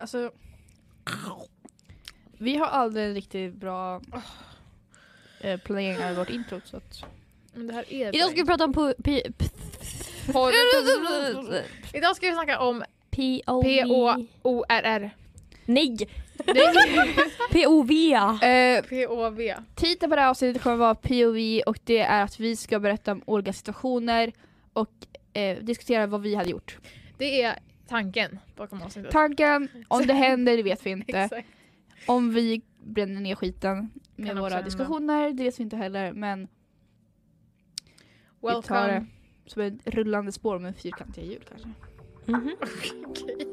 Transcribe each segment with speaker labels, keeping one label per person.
Speaker 1: Alltså, vi har aldrig en riktigt bra eh, planering av vårt intro. Så att...
Speaker 2: Men det här är
Speaker 3: Idag ska vi prata om po- pi-
Speaker 2: Idag ska vi snacka om
Speaker 3: P-O...
Speaker 2: P-O-O-R-R.
Speaker 3: Nej!
Speaker 2: Det
Speaker 3: POV!
Speaker 1: eh,
Speaker 2: P-O-V.
Speaker 1: titeln på det här avsnittet kommer vara POV och det är att vi ska berätta om olika situationer och eh, diskutera vad vi hade gjort.
Speaker 2: Det är tanken bakom avsnittet.
Speaker 1: Tanken, om det händer det vet vi inte.
Speaker 2: Exakt.
Speaker 1: Om vi bränner ner skiten med
Speaker 2: Kan också
Speaker 1: våra
Speaker 2: hända.
Speaker 1: diskussioner, det vet vi inte heller. Men vi tar det
Speaker 2: Welcome.
Speaker 1: som ett rullande spår med fyrkantiga hjul kanske.
Speaker 3: Mhm.
Speaker 2: Okej.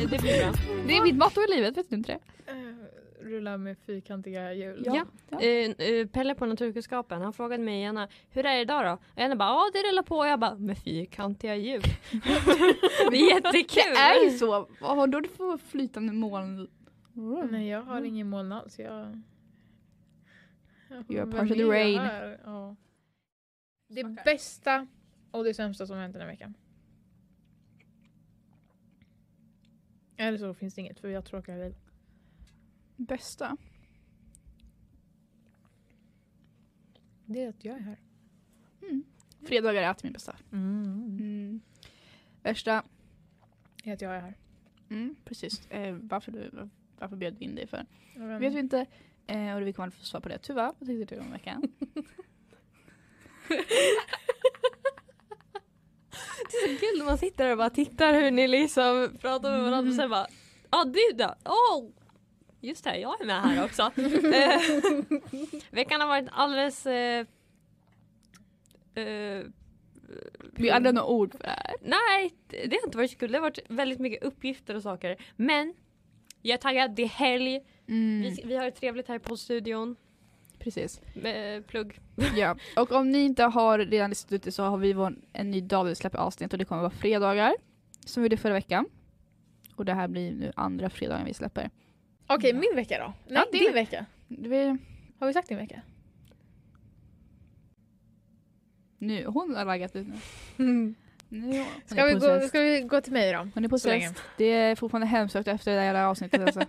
Speaker 3: Det blir bra.
Speaker 1: Det är mitt motto i livet, vet du inte det?
Speaker 2: Eh, Rulla med fyrkantiga hjul.
Speaker 3: Ja. Eh, eh, Pelle på naturkunskapen, han frågade mig gärna hur är det idag då? Och Jenna bara ja det rullar på och jag bara med fyrkantiga hjul. det är jättekul!
Speaker 1: Det är ju så. Vad har då du för flytande moln?
Speaker 2: Mm.
Speaker 1: Mm.
Speaker 2: Nej jag har ingen moln alls. Jag...
Speaker 1: You're a
Speaker 2: Vem
Speaker 1: part of the
Speaker 2: är jag
Speaker 1: rain.
Speaker 2: här? Ja. Det bästa och det sämsta som hänt den här veckan. Eller så finns det inget för jag tråkar väl.
Speaker 1: Bästa?
Speaker 2: Det är att jag är här.
Speaker 1: Fredagar är alltid min bästa.
Speaker 2: Mm.
Speaker 1: Mm. Värsta?
Speaker 2: Det är att jag är här.
Speaker 1: Mm, precis. Eh, varför, du, varför bjöd vi in dig för?
Speaker 2: Jag vet
Speaker 1: Vet
Speaker 2: inte.
Speaker 1: vi inte. Eh, och vi kommer aldrig få svar på det tyvärr. Vad tyckte du om veckan?
Speaker 3: Det är så kul när man sitter där och bara tittar hur ni liksom pratar med varandra och sen bara ja du då? Oh! Just det, jag är med här också. Eh, Veckan har varit alldeles... Eh, eh,
Speaker 1: vi hade några ord för det här.
Speaker 3: nej, det det har inte varit så kul. Det har varit väldigt mycket uppgifter och saker. Men jag är taggad, det är helg.
Speaker 1: Mm,
Speaker 3: Vi, vi har det trevligt här i poddstudion.
Speaker 1: precis.
Speaker 3: Med, eh, plugg.
Speaker 1: Ja. Och om ni inte har redan listat ut det så har vi vår, en ny dag där vi släpper avsnitt och det kommer vara fredagar. Som vi gjorde förra veckan. Och det här blir nu andra fredagen vi släpper.
Speaker 2: Okej min vecka då? Nej
Speaker 1: din
Speaker 2: din,
Speaker 1: ve-
Speaker 2: vecka.
Speaker 1: Vi,
Speaker 2: Har vi sagt din vecka?
Speaker 1: nu, hon har laggat ut nu. nu hon
Speaker 2: Ska,
Speaker 1: är
Speaker 2: vi
Speaker 1: possessed.
Speaker 2: gå, ska vi gå till mig då?
Speaker 1: Hon är
Speaker 2: Så länge.
Speaker 1: possessed. Det är fortfarande hemsökt efter det där jävla avsnittet alltså.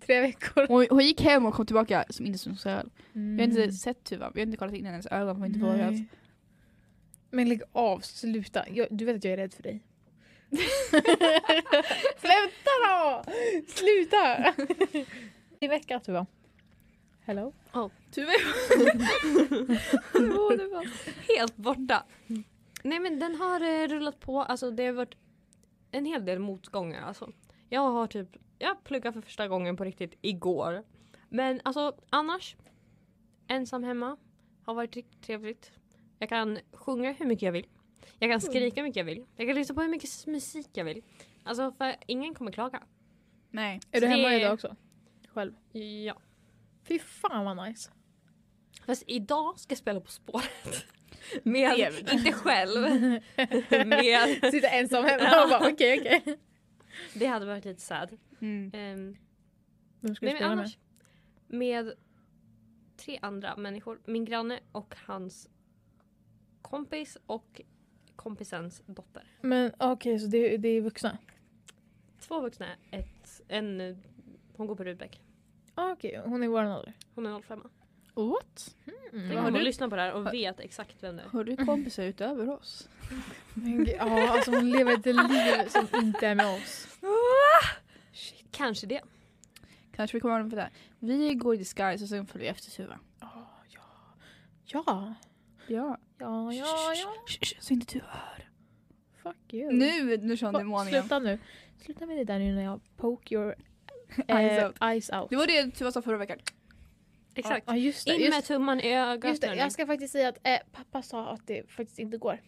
Speaker 2: Tre veckor.
Speaker 1: hon, hon gick hem och kom tillbaka som inte som själv.
Speaker 2: Mm.
Speaker 1: Vi har inte sett Tuva, vi har inte kollat in hennes ögon, vi har inte vågat.
Speaker 2: Nej. Men lägg av, sluta. Jag, du vet att jag är rädd för dig. sluta då! Sluta! I veckan Tuva. Hello?
Speaker 3: Tuve Helt borta. Nej men den har eh, rullat på. Alltså det har varit en hel del motgångar. Alltså. Jag har typ, jag pluggade för första gången på riktigt igår. Men alltså annars, ensam hemma har varit riktigt trevligt. Jag kan sjunga hur mycket jag vill. Jag kan skrika hur mycket jag vill. Jag kan lyssna på hur mycket musik jag vill. Alltså för ingen kommer klaga.
Speaker 1: Nej.
Speaker 2: Är du
Speaker 3: Det-
Speaker 2: hemma idag också? Själv?
Speaker 3: Ja.
Speaker 2: Fy fan vad nice.
Speaker 3: Fast idag ska jag spela På spåret. Med, inte själv. med,
Speaker 2: Sitta ensam hemma och bara okej okej.
Speaker 3: det hade varit lite sad.
Speaker 1: Mm.
Speaker 2: Eh.
Speaker 3: Ehm,
Speaker 2: Vem ska du spela
Speaker 3: nej, men
Speaker 2: med?
Speaker 3: annars, med tre andra människor. Min granne och hans kompis och kompisens dotter.
Speaker 2: Men ah, okej så det, det är vuxna?
Speaker 3: Två vuxna, ett, en, eh, hon går på Rudbeck.
Speaker 2: Ah, okej, hon är i våran ålder.
Speaker 3: Hon är 05.
Speaker 1: What?
Speaker 3: Tänk
Speaker 1: Vad
Speaker 3: om
Speaker 1: har
Speaker 3: hon
Speaker 1: du-
Speaker 3: lyssnar på det här
Speaker 1: har-
Speaker 3: och vet exakt vem det är.
Speaker 1: Har du kompisar utöver oss?
Speaker 2: Men gud, ja, alltså hon lever ett liv som inte är med oss.
Speaker 3: Kanske det.
Speaker 1: Kanske vi kommer att på det. här. Vi går i disguise och sen följer vi efter Tuva.
Speaker 2: Ah, Ja.
Speaker 1: Ja.
Speaker 2: Ja, ja, ja.
Speaker 1: Så inte Tuva hör.
Speaker 2: Fuck you.
Speaker 1: Nu, nu kör hon demonen igen.
Speaker 2: Sluta nu. Sluta med det där nu när jag poke your
Speaker 1: Eyes
Speaker 2: eyes,
Speaker 1: out.
Speaker 2: out. eyes out.
Speaker 1: Det var det Tuva sa förra veckan.
Speaker 3: Exakt.
Speaker 2: Ja, just det.
Speaker 3: In med
Speaker 2: Just,
Speaker 3: tummen i ögat.
Speaker 2: just det.
Speaker 3: hörni.
Speaker 2: Jag ska faktiskt säga att eh, pappa sa att det faktiskt inte går.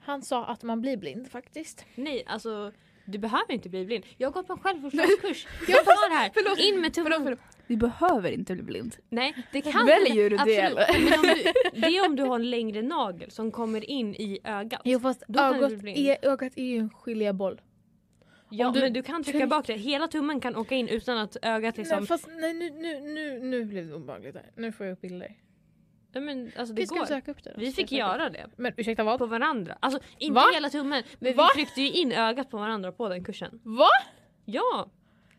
Speaker 2: Han sa att man blir blind faktiskt.
Speaker 3: Nej, alltså du behöver inte bli blind. Jag har gått på en självförsvarskurs. Jag har det här.
Speaker 1: Förlåt.
Speaker 3: In med tummen.
Speaker 1: Förlåt, förlåt. Vi behöver inte bli blind.
Speaker 3: Nej, det kan
Speaker 1: Väljer du det,
Speaker 3: Absolut.
Speaker 1: eller?
Speaker 3: Men om du, det är om du har en längre nagel som kommer in i ögat.
Speaker 2: Jo fast
Speaker 3: Då kan du
Speaker 2: ögat
Speaker 3: bli blind.
Speaker 2: är, ögat är ju en skiljeboll.
Speaker 3: Ja
Speaker 2: Om du-
Speaker 3: men du kan trycka bak det. Hela tummen kan åka in utan att ögat liksom...
Speaker 2: Nej, fast nej, nu, nu, nu, nu blev det obehagligt där. Nu får jag upp bilder.
Speaker 3: Nej, men alltså
Speaker 2: Vi
Speaker 3: det
Speaker 2: ska
Speaker 3: går.
Speaker 2: söka upp det då.
Speaker 3: Vi
Speaker 2: Ska jag
Speaker 3: fick
Speaker 2: söka upp
Speaker 3: göra det.
Speaker 2: det? Men ursäkta vad?
Speaker 3: På varandra. Alltså inte
Speaker 2: Va?
Speaker 3: hela tummen. Men
Speaker 2: Va?
Speaker 3: vi tryckte ju in ögat på varandra på den kursen.
Speaker 2: Va?
Speaker 3: Ja!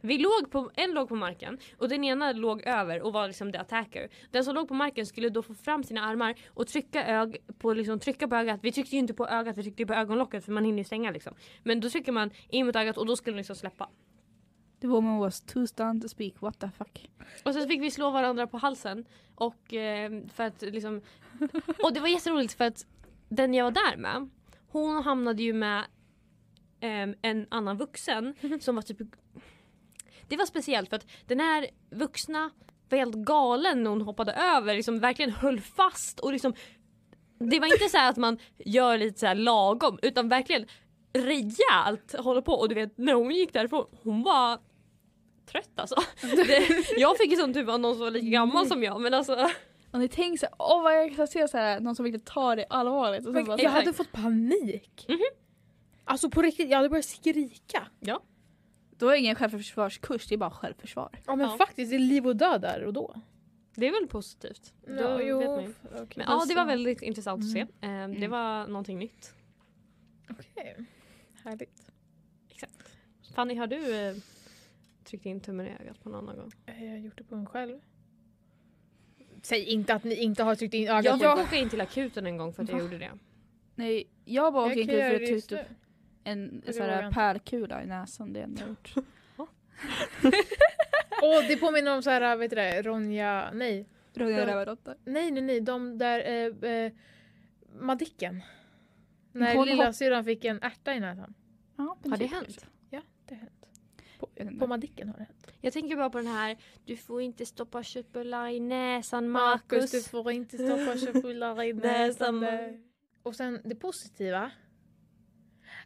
Speaker 3: Vi låg på, en låg på marken och den ena låg över och var liksom the attacker. Den som låg på marken skulle då få fram sina armar och trycka, ög på, liksom, trycka på ögat. Vi tryckte ju inte på ögat, vi tryckte ju på ögonlocket för man hinner ju stänga liksom. Men då trycker man in mot ögat och då skulle den liksom släppa.
Speaker 1: The woman was too stunned to speak, what the fuck.
Speaker 3: Och sen fick vi slå varandra på halsen. Och eh, för att liksom... Och det var jätteroligt för att den jag var där med, hon hamnade ju med ehm, en annan vuxen som var typ... Det var speciellt för att den här vuxna var helt galen när hon hoppade över, liksom verkligen höll fast och liksom det var inte så här att man gör lite så här lagom utan verkligen rejält håller på och du vet när hon gick därifrån hon var trött alltså. Det, jag fick ju sån typ av någon som var lika gammal som jag men alltså
Speaker 1: Och ni tänker såhär, åh vad jag kan se såhär, någon som verkligen tar det allvarligt. Och så
Speaker 2: Men
Speaker 1: bara,
Speaker 2: jag hade fått panik.
Speaker 3: Mhm.
Speaker 2: Alltså på riktigt, jag hade börjat skrika.
Speaker 1: Då är det ingen självförsvarskurs, det är bara självförsvar.
Speaker 2: Ja men
Speaker 3: Ja.
Speaker 2: faktiskt, det är liv och död där och då.
Speaker 3: det är väl positivt. Då
Speaker 2: Ja,
Speaker 3: vet
Speaker 2: jo,
Speaker 3: man ju.
Speaker 2: f- okej.
Speaker 3: men ja det var väldigt intressant att se. Ehm, Det
Speaker 1: Mm.
Speaker 3: var någonting nytt.
Speaker 2: Okej. Härligt.
Speaker 3: Fanny har du eh, tryckt in tummen i ögat på någon någon gång?
Speaker 2: Eh, Jag har gjort det på mig själv. Säg inte att ni inte har tryckt in ögat
Speaker 3: Jag
Speaker 2: på
Speaker 3: fick åka in till akuten en gång för att jag
Speaker 1: Va?
Speaker 3: gjorde det.
Speaker 1: Nej, jag bara
Speaker 2: Jag
Speaker 1: åkte
Speaker 2: kan
Speaker 1: inte
Speaker 2: göra
Speaker 1: för
Speaker 2: det
Speaker 1: att
Speaker 2: just
Speaker 1: trycka upp
Speaker 2: nu.
Speaker 1: en
Speaker 2: Jag
Speaker 1: sån här
Speaker 2: vågar.
Speaker 1: pärlkula i näsan, det är ändå gjort.
Speaker 2: Åh, det påminner om så här, vet du det, Ronja, nej.
Speaker 1: Rungade
Speaker 2: Då-
Speaker 1: rövarråttor.
Speaker 2: Nej, nej, nej, de där eh, eh, Madicken.
Speaker 1: Mm, Hon
Speaker 2: När
Speaker 1: hop-
Speaker 2: lillasyrran fick en ärta i näsan.
Speaker 1: Ja,
Speaker 3: Har det hänt?
Speaker 2: typ. Ja, det har hänt.
Speaker 1: Jag vet inte.
Speaker 2: På Madicken har det hänt.
Speaker 3: Jag tänker bara på den här Du får inte stoppa köttbullar i näsan
Speaker 2: Marcus, du
Speaker 3: Marcus.
Speaker 2: får inte stoppa köttbullar i näsan.
Speaker 3: Näsan.
Speaker 2: där. Och sen det positiva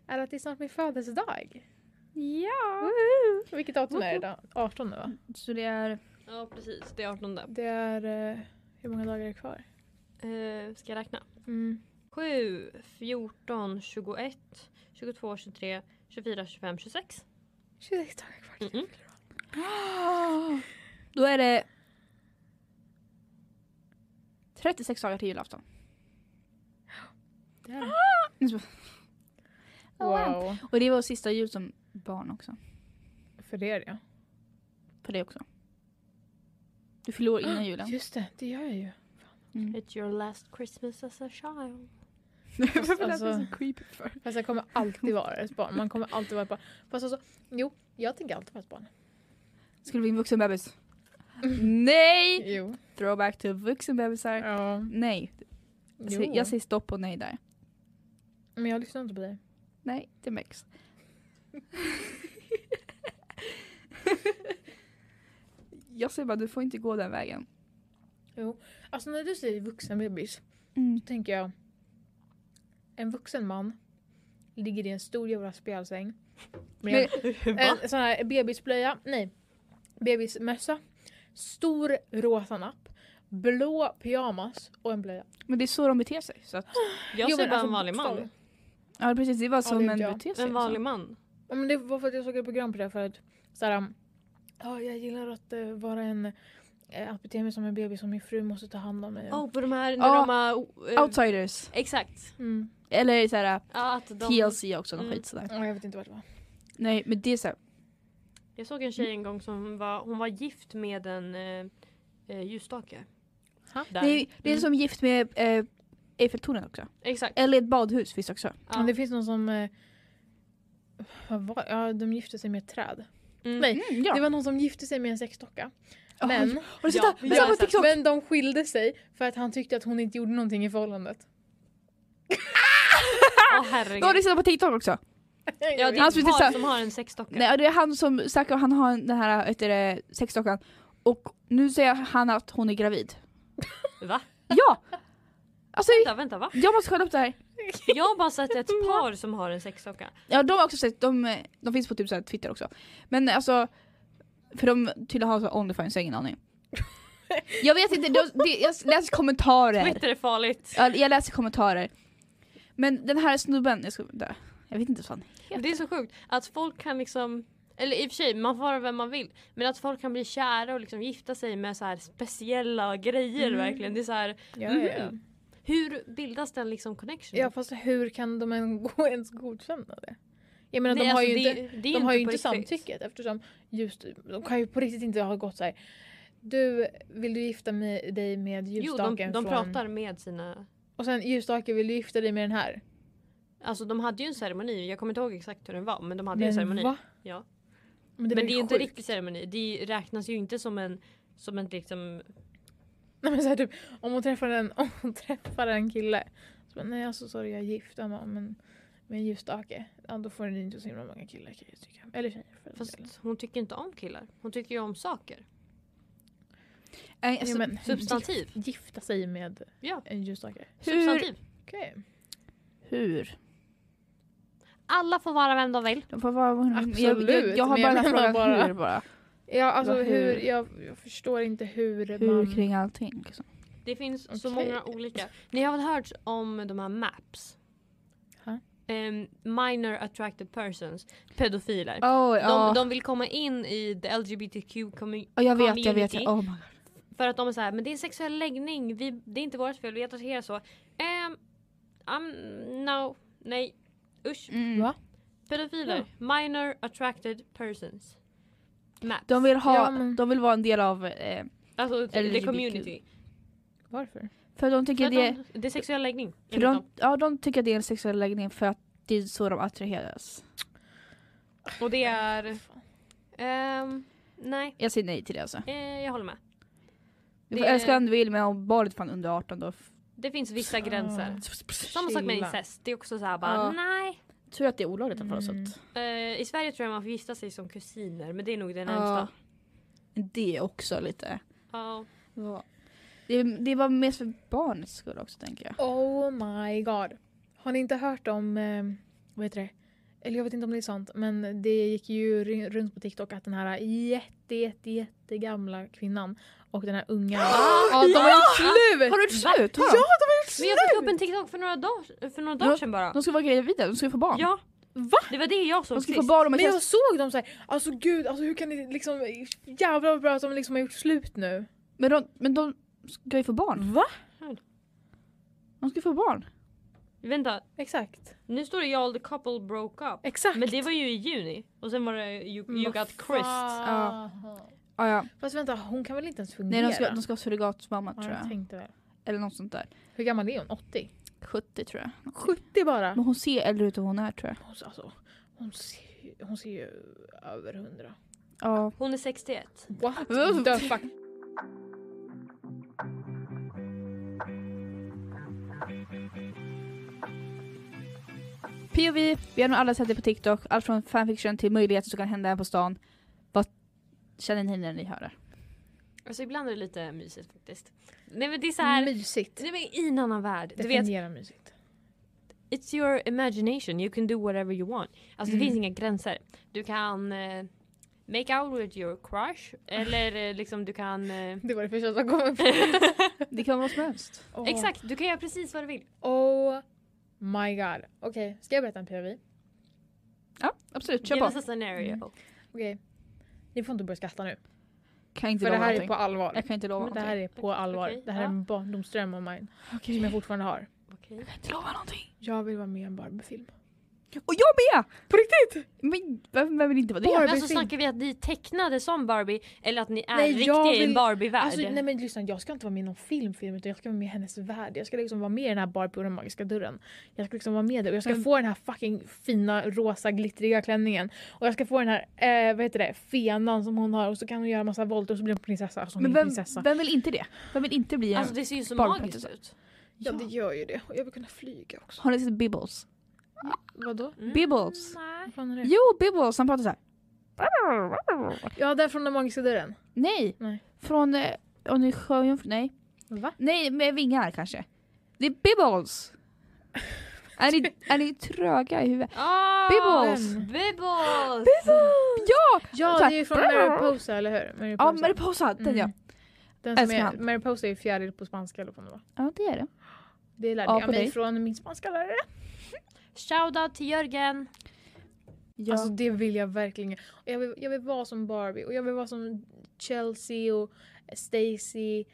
Speaker 2: är att det är snart min födelsedag.
Speaker 1: Ja!
Speaker 2: Vilket datum är det idag? 18 nu va?
Speaker 1: Så det är...
Speaker 3: Ja precis, det är 18.
Speaker 2: Det är... Eh, hur många dagar är det kvar?
Speaker 3: Eh, ska jag räkna?
Speaker 2: Mm.
Speaker 3: 7, 14, 21, 22, 23, 24, 25, 26.
Speaker 2: 26 dagar kvar.
Speaker 3: Mm -mm.
Speaker 1: Då är det... 36 dagar till julafton.
Speaker 2: Där.
Speaker 1: Oh, Wow.
Speaker 2: Wow.
Speaker 1: Ah! Och det var sista jul som barn också.
Speaker 2: För det är det
Speaker 1: För dig också. Du fyller år innan
Speaker 2: ja.
Speaker 1: julen.
Speaker 2: Ah, Just det, det gör jag ju.
Speaker 1: Mm.
Speaker 3: It's your last Christmas as a child.
Speaker 1: Varför lät
Speaker 2: alltså-
Speaker 1: det så creepy för?
Speaker 2: Fast jag kommer alltid vara ett barn. Man kommer alltid vara ett barn. Fast alltså, jo, jag tänker alltid vara ett barn.
Speaker 1: Skulle bli en vuxen bebis. Nej!
Speaker 2: Jo.
Speaker 1: Throwback till vuxenbebisar.
Speaker 2: Ja.
Speaker 1: Nej. Jag
Speaker 2: Jo.
Speaker 1: säger- Jag säger stopp och nej där.
Speaker 2: Men jag lyssnar inte på dig.
Speaker 1: Nej, det märks. jag säger bara, du får inte gå den vägen.
Speaker 2: Alltså när du säger vuxen bebis,
Speaker 1: Mm.
Speaker 2: då tänker jag en vuxen man ligger i en stor jävla spjälsäng. Med en, en sån här bebisblöja, nej, bebismössa, stor rosa napp, blå pyjamas och en blöja.
Speaker 1: Men det är så de beter sig. Så att,
Speaker 3: Jag
Speaker 2: Jo,
Speaker 3: ser
Speaker 2: men
Speaker 3: bara
Speaker 2: alltså,
Speaker 3: en vanlig man.
Speaker 2: bokstavligen.
Speaker 1: ja precis, det var så
Speaker 2: det
Speaker 1: män
Speaker 2: gjorde jag.
Speaker 1: beter sig.
Speaker 3: En vanlig man.
Speaker 2: Ja, men det var för att jag såg ett program på det här förut. Såhär, um, ja jag gillar att eh, vara en uh, amputera mig som en bebis och min fru måste ta hand om mig.
Speaker 3: Åh, på Oh, de här
Speaker 1: Ja.
Speaker 3: när de har...
Speaker 1: liksom.
Speaker 3: eh,
Speaker 1: Outsiders.
Speaker 3: Exakt.
Speaker 2: Mm.
Speaker 1: Eller såhär
Speaker 3: Ja, att de,
Speaker 1: TLC också, någon
Speaker 3: Mm.
Speaker 1: skit sådär.
Speaker 2: Ja, jag vet inte vart det var.
Speaker 1: Nej men det är såhär,
Speaker 3: Jag såg en tjej en gång som var, hon var gift med en eh, eh, ljusstake.
Speaker 2: Ha?
Speaker 3: Där. Mm.
Speaker 1: det, är- det är som gift med eh, Eiffeltornen också.
Speaker 3: Exakt.
Speaker 1: Eller ett badhus finns också.
Speaker 2: Men
Speaker 3: Ja.
Speaker 2: det finns någon som... eh, vad var, ja, de gifte sig med ett träd.
Speaker 3: Mm.
Speaker 2: Nej,
Speaker 1: Mm, ja.
Speaker 2: Det var någon som gifte sig med en sexdocka.
Speaker 1: Oj,
Speaker 2: Men,
Speaker 1: Har du sett det?
Speaker 3: Ja,
Speaker 1: Men
Speaker 3: jag
Speaker 1: så
Speaker 3: har
Speaker 1: på
Speaker 3: sett.
Speaker 1: TikTok!
Speaker 2: men de skilde sig för att han tyckte att hon inte gjorde någonting i förhållandet.
Speaker 1: Du Ah!
Speaker 3: Åh,
Speaker 1: Alltså, har
Speaker 3: herregud.
Speaker 1: lyssnat på TikTok också?
Speaker 3: Ja, det
Speaker 1: Han
Speaker 3: är
Speaker 1: som
Speaker 3: ett
Speaker 1: inte sa-
Speaker 3: par som har en sexdocka.
Speaker 1: Nej, och det är han som snackar, han har den här vad heter det, sexdockan och nu säger han att hon är gravid.
Speaker 3: Va?
Speaker 1: Ja! Alltså,
Speaker 3: Vänta, vänta, va?
Speaker 1: jag måste kolla upp det här.
Speaker 3: Jag har bara sett ett par som har en sexdocka.
Speaker 1: Ja, de har också sett, de, de finns på typ så här Twitter också. Men alltså, för de tydligen har så Onlyfans, jag har ingen aning. Jag vet inte, de, de, jag läser kommentarer.
Speaker 3: Twitter är farligt.
Speaker 1: Ja, Jag läser kommentarer. Men den här snubben, jag, ska, där, jag vet inte vad han
Speaker 2: heter.
Speaker 3: Det är så sjukt att folk kan liksom eller i och för sig, man får vara vem man vill. Men att folk kan bli kära och liksom gifta sig med så här speciella grejer
Speaker 2: Mm.
Speaker 3: verkligen. Det är så här,
Speaker 2: Ja, ja, ja.
Speaker 3: Mhm. hur bildas den liksom connection?
Speaker 2: ja fast hur kan de en- gå ens godkänna det? Jag menar
Speaker 3: Nej,
Speaker 2: de har ju
Speaker 3: alltså, det-
Speaker 2: inte,
Speaker 3: det är
Speaker 2: de har ju
Speaker 3: på
Speaker 2: inte
Speaker 3: riktigt.
Speaker 2: samtycket eftersom just, de kan ju på riktigt inte ha gått så här. Du, vill du gifta mig, dig med
Speaker 3: Jo, de,
Speaker 2: ljusstaken
Speaker 3: de
Speaker 2: från...
Speaker 3: pratar med sina
Speaker 2: Och sen ljusstaken, vill du gifta dig med den här?
Speaker 3: Alltså de hade ju en ceremoni, jag kommer inte ihåg exakt hur den var men de hade ju
Speaker 2: Men
Speaker 3: en ceremoni.
Speaker 2: va?
Speaker 3: Ja.
Speaker 2: Men det,
Speaker 3: men
Speaker 2: var
Speaker 3: det är
Speaker 2: ju
Speaker 3: ju inte
Speaker 2: sjukt.
Speaker 3: riktig ceremoni, det räknas ju inte som en som en liksom,
Speaker 2: Nej, men så här, typ, om, hon träffar en, om hon träffar en kille. Så bara, nej alltså sorry jag är gift. Han bara, men med en ljusstake. Ja, då får ni inte så himla många killar kan jag tycka. Eller tjejer för den delen.
Speaker 3: fast hon tycker inte om killar. Hon tycker ju om saker.
Speaker 1: Nej,
Speaker 2: Jo,
Speaker 1: alltså,
Speaker 2: men
Speaker 3: Substantiv.
Speaker 2: gif- Gifta sig med
Speaker 3: Ja.
Speaker 2: en ljusstake.
Speaker 1: hur,
Speaker 3: Substantiv.
Speaker 2: Okej.
Speaker 1: hur?
Speaker 3: Alla får vara vem de vill.
Speaker 1: De får vara,
Speaker 2: Absolut,
Speaker 1: jag, jag, jag har
Speaker 2: men jag
Speaker 1: bara
Speaker 2: menar
Speaker 1: frågat
Speaker 2: bara-
Speaker 1: hur bara.
Speaker 2: Ja alltså
Speaker 1: Vad
Speaker 2: hur,
Speaker 1: hur?
Speaker 2: jag, jag förstår inte hur, man...
Speaker 1: Hur kring allting. Liksom.
Speaker 3: Det finns så
Speaker 2: Okej.
Speaker 3: många olika. Ni har väl hört om de här MAPS?
Speaker 2: Ha?
Speaker 3: Em, minor attracted persons, pedofiler.
Speaker 1: Oh,
Speaker 3: De, de vill komma in i the LGBTQ community
Speaker 1: jag vet, jag vet.
Speaker 3: community.
Speaker 1: Oh my God.
Speaker 3: För att de är så här, men det är en sexuell läggning, vi, det är inte vårt fel, vi attraherar så. Um, um, no, nej, usch.
Speaker 1: Mm.
Speaker 2: Va?
Speaker 3: Pedofiler, minor attracted persons. Maps.
Speaker 1: De vill, ha,
Speaker 2: Ja, men-
Speaker 1: de vill vara en del av... Eh,
Speaker 3: alltså the
Speaker 1: LGBTQ.
Speaker 3: community.
Speaker 2: Varför?
Speaker 1: för de tycker
Speaker 3: För att
Speaker 1: det...
Speaker 3: de, det är sexuell läggning.
Speaker 1: För
Speaker 3: enligt
Speaker 1: de,
Speaker 3: dem.
Speaker 1: ja, de tycker att det är en sexuell läggning för att det är så de attraheras.
Speaker 3: Och det är... ehm, nej,
Speaker 1: Jag säger nej till det alltså.
Speaker 3: eh, jag håller med.
Speaker 1: Du
Speaker 3: Det
Speaker 1: får
Speaker 3: är-
Speaker 1: älska vem du vill men om barnet fan under 18 då... f-
Speaker 3: Det finns vissa gränser. Samma sak med
Speaker 2: Chilla.
Speaker 3: incest, det är också så här bara
Speaker 1: Ja.
Speaker 3: nej.
Speaker 1: Tur att det är olagligt i alla fall. så
Speaker 2: Mm.
Speaker 1: att-
Speaker 3: Eh, I Sverige tror jag man får gifta sig som kusiner men det är nog det
Speaker 1: Ja.
Speaker 3: närmsta.
Speaker 1: Det är också lite...
Speaker 3: Ja.
Speaker 1: Ja. Det, det var mest för barnets skull också tänker jag.
Speaker 2: Oh my god. Har ni inte hört om, eh, vad heter det? Eller jag vet inte om det är sant, men det gick ju ru- runt på TikTok att den här jätte, jätte, jättegamla kvinnan och den här unga... ja, de har gjort slut!
Speaker 1: Ah! Har du gjort slut? Har
Speaker 2: Ja,
Speaker 1: de?
Speaker 3: Men jag fick upp en TikTok för några dagar, för några dagar
Speaker 1: Ja.
Speaker 3: sedan bara.
Speaker 1: De skulle vara gravida, de skulle få barn.
Speaker 3: Ja.
Speaker 2: Va?
Speaker 3: Det var det jag
Speaker 1: De
Speaker 3: såg
Speaker 1: skulle få
Speaker 3: sist.
Speaker 1: barn om ett
Speaker 2: Men jag
Speaker 1: test.
Speaker 2: såg dem såhär, alltså gud, alltså hur kan ni liksom, jävlar vad bra att de liksom har gjort slut nu.
Speaker 1: Men de, men de ska ju få barn.
Speaker 2: Va?
Speaker 1: De ska få barn.
Speaker 3: Vänta,
Speaker 2: Exakt.
Speaker 3: nu står det y'all the couple broke up.
Speaker 2: Exakt.
Speaker 3: Men det var ju i juni. Och sen var det you, you got Christ.
Speaker 1: Ja. Ah, ja.
Speaker 2: Fast vänta, hon kan väl inte ens fungera?
Speaker 1: Nej de ska, de ska ha surrogatmamma
Speaker 2: ja,
Speaker 1: tror
Speaker 2: jag
Speaker 1: jag.
Speaker 2: tänkte väl.
Speaker 1: Eller något sånt där.
Speaker 2: Hur gammal är hon? 80?
Speaker 1: 70 tror jag.
Speaker 2: 70 bara?
Speaker 1: Men hon ser äldre ut än hon är tror jag.
Speaker 2: Hon, alltså, hon, ser, hon ser ju över 100.
Speaker 1: Ja.
Speaker 3: Hon är 61.
Speaker 2: What
Speaker 1: Uff.
Speaker 2: the fuck?
Speaker 1: POV, vi har nog alla sett det på TikTok. Allt från fanfiction till möjligheter som kan hända här på stan. Vad känner ni när ni hör det?
Speaker 3: Alltså ibland är det lite mysigt faktiskt. Nej men det är så här.
Speaker 2: Mysigt.
Speaker 3: Nej men i en annan värld. Du vet,
Speaker 2: Definiera mysigt.
Speaker 3: it's your imagination. You can do whatever you want. Alltså det
Speaker 1: Mm.
Speaker 3: finns inga gränser. Du kan eh, make out with your crush. Eller eh, liksom du kan... eh,
Speaker 2: Det var det första som kom upp.
Speaker 1: Det kan vara vad som helst.
Speaker 2: Åh.
Speaker 3: Exakt, du kan göra precis vad du vill.
Speaker 2: Oh my god. Okej, ska jag berätta en POV?
Speaker 1: Ja, absolut. Kör
Speaker 3: Give
Speaker 1: på.
Speaker 3: us a scenario.
Speaker 2: Mm. Okej. Ni får inte börja skratta nu.
Speaker 1: Kan inte
Speaker 2: För det
Speaker 1: lova
Speaker 2: här är
Speaker 1: någonting.
Speaker 2: på allvar.
Speaker 1: Jag kan inte lova
Speaker 2: Det
Speaker 1: någonting.
Speaker 2: här är på
Speaker 3: Okej,
Speaker 2: allvar.
Speaker 3: okej,
Speaker 2: Det här är
Speaker 3: ja.
Speaker 2: en barndomsdröm av mine.
Speaker 1: Okej.
Speaker 2: Som jag fortfarande har.
Speaker 3: Okej.
Speaker 1: Jag kan inte lova någonting.
Speaker 2: Jag vill vara med i en Barbie-film.
Speaker 1: Och jag med!
Speaker 2: På riktigt?
Speaker 1: Men vem, vem vill inte vara det?
Speaker 2: Bara-
Speaker 3: Men alltså
Speaker 2: Barbie-film.
Speaker 3: snackar vi att ni tecknade som Barbie eller att ni är
Speaker 2: Nej, jag
Speaker 3: riktiga i en
Speaker 2: vill-
Speaker 3: Barbie-värld?
Speaker 2: Alltså, nej men lyssna, jag ska inte vara med i någon filmfilm utan jag ska vara med i hennes värld. Jag ska liksom vara med i den här Barbie och den magiska dörren. Jag ska liksom vara med där och jag ska
Speaker 1: Men-
Speaker 2: få den här fucking fina rosa glittriga klänningen. Och jag ska få den här, eh, vad heter det, fenan som hon har och så kan hon göra massa volter och så blir hon prinsessa. Alltså hon
Speaker 1: Men
Speaker 2: är en
Speaker 1: vem,
Speaker 2: prinsessa.
Speaker 1: vem vill inte det? Vem vill inte bli en...
Speaker 3: Alltså, det ser ju så
Speaker 1: Barbie
Speaker 3: magiskt ut.
Speaker 2: ja det gör ju det. Och jag vill kunna flyga också.
Speaker 1: Har ni sett Bibbles?
Speaker 2: Vadå?
Speaker 3: Mm,
Speaker 1: Bibbles.
Speaker 3: nej.
Speaker 2: Vad fan är det?
Speaker 1: Jo, Bibbles! Han pratar så här.
Speaker 2: Ja den från den magiska dörren.
Speaker 1: Nej!
Speaker 2: Nej.
Speaker 1: Från... eh, Om ni är sjöjungfru? Nej.
Speaker 2: Va?
Speaker 1: Nej, med vingar kanske. Det är Bibbles! är, ni, är ni tröga i huvudet?
Speaker 3: Ah,
Speaker 1: Bibbles!
Speaker 2: vem?
Speaker 3: Bibbles!
Speaker 1: Ja!
Speaker 2: Ja
Speaker 1: Så här-
Speaker 2: det är ju från Mariposa eller hur? Mariposa.
Speaker 1: Ja, Mariposa, den ja.
Speaker 2: Mm. Den som
Speaker 1: Älskar
Speaker 2: är,
Speaker 1: han.
Speaker 2: Mariposa är ju fjäril på spanska eller vad fan det var.
Speaker 1: Ja, det är det.
Speaker 2: Det lärde
Speaker 1: Ja, på
Speaker 2: jag mig
Speaker 1: dig.
Speaker 2: från min spanska lärare.
Speaker 3: Shoutout till Jörgen.
Speaker 1: Ja.
Speaker 2: Alltså det vill jag verkligen. Och jag, vill, jag vill vara som Barbie och jag vill vara som Chelsea och Stacy.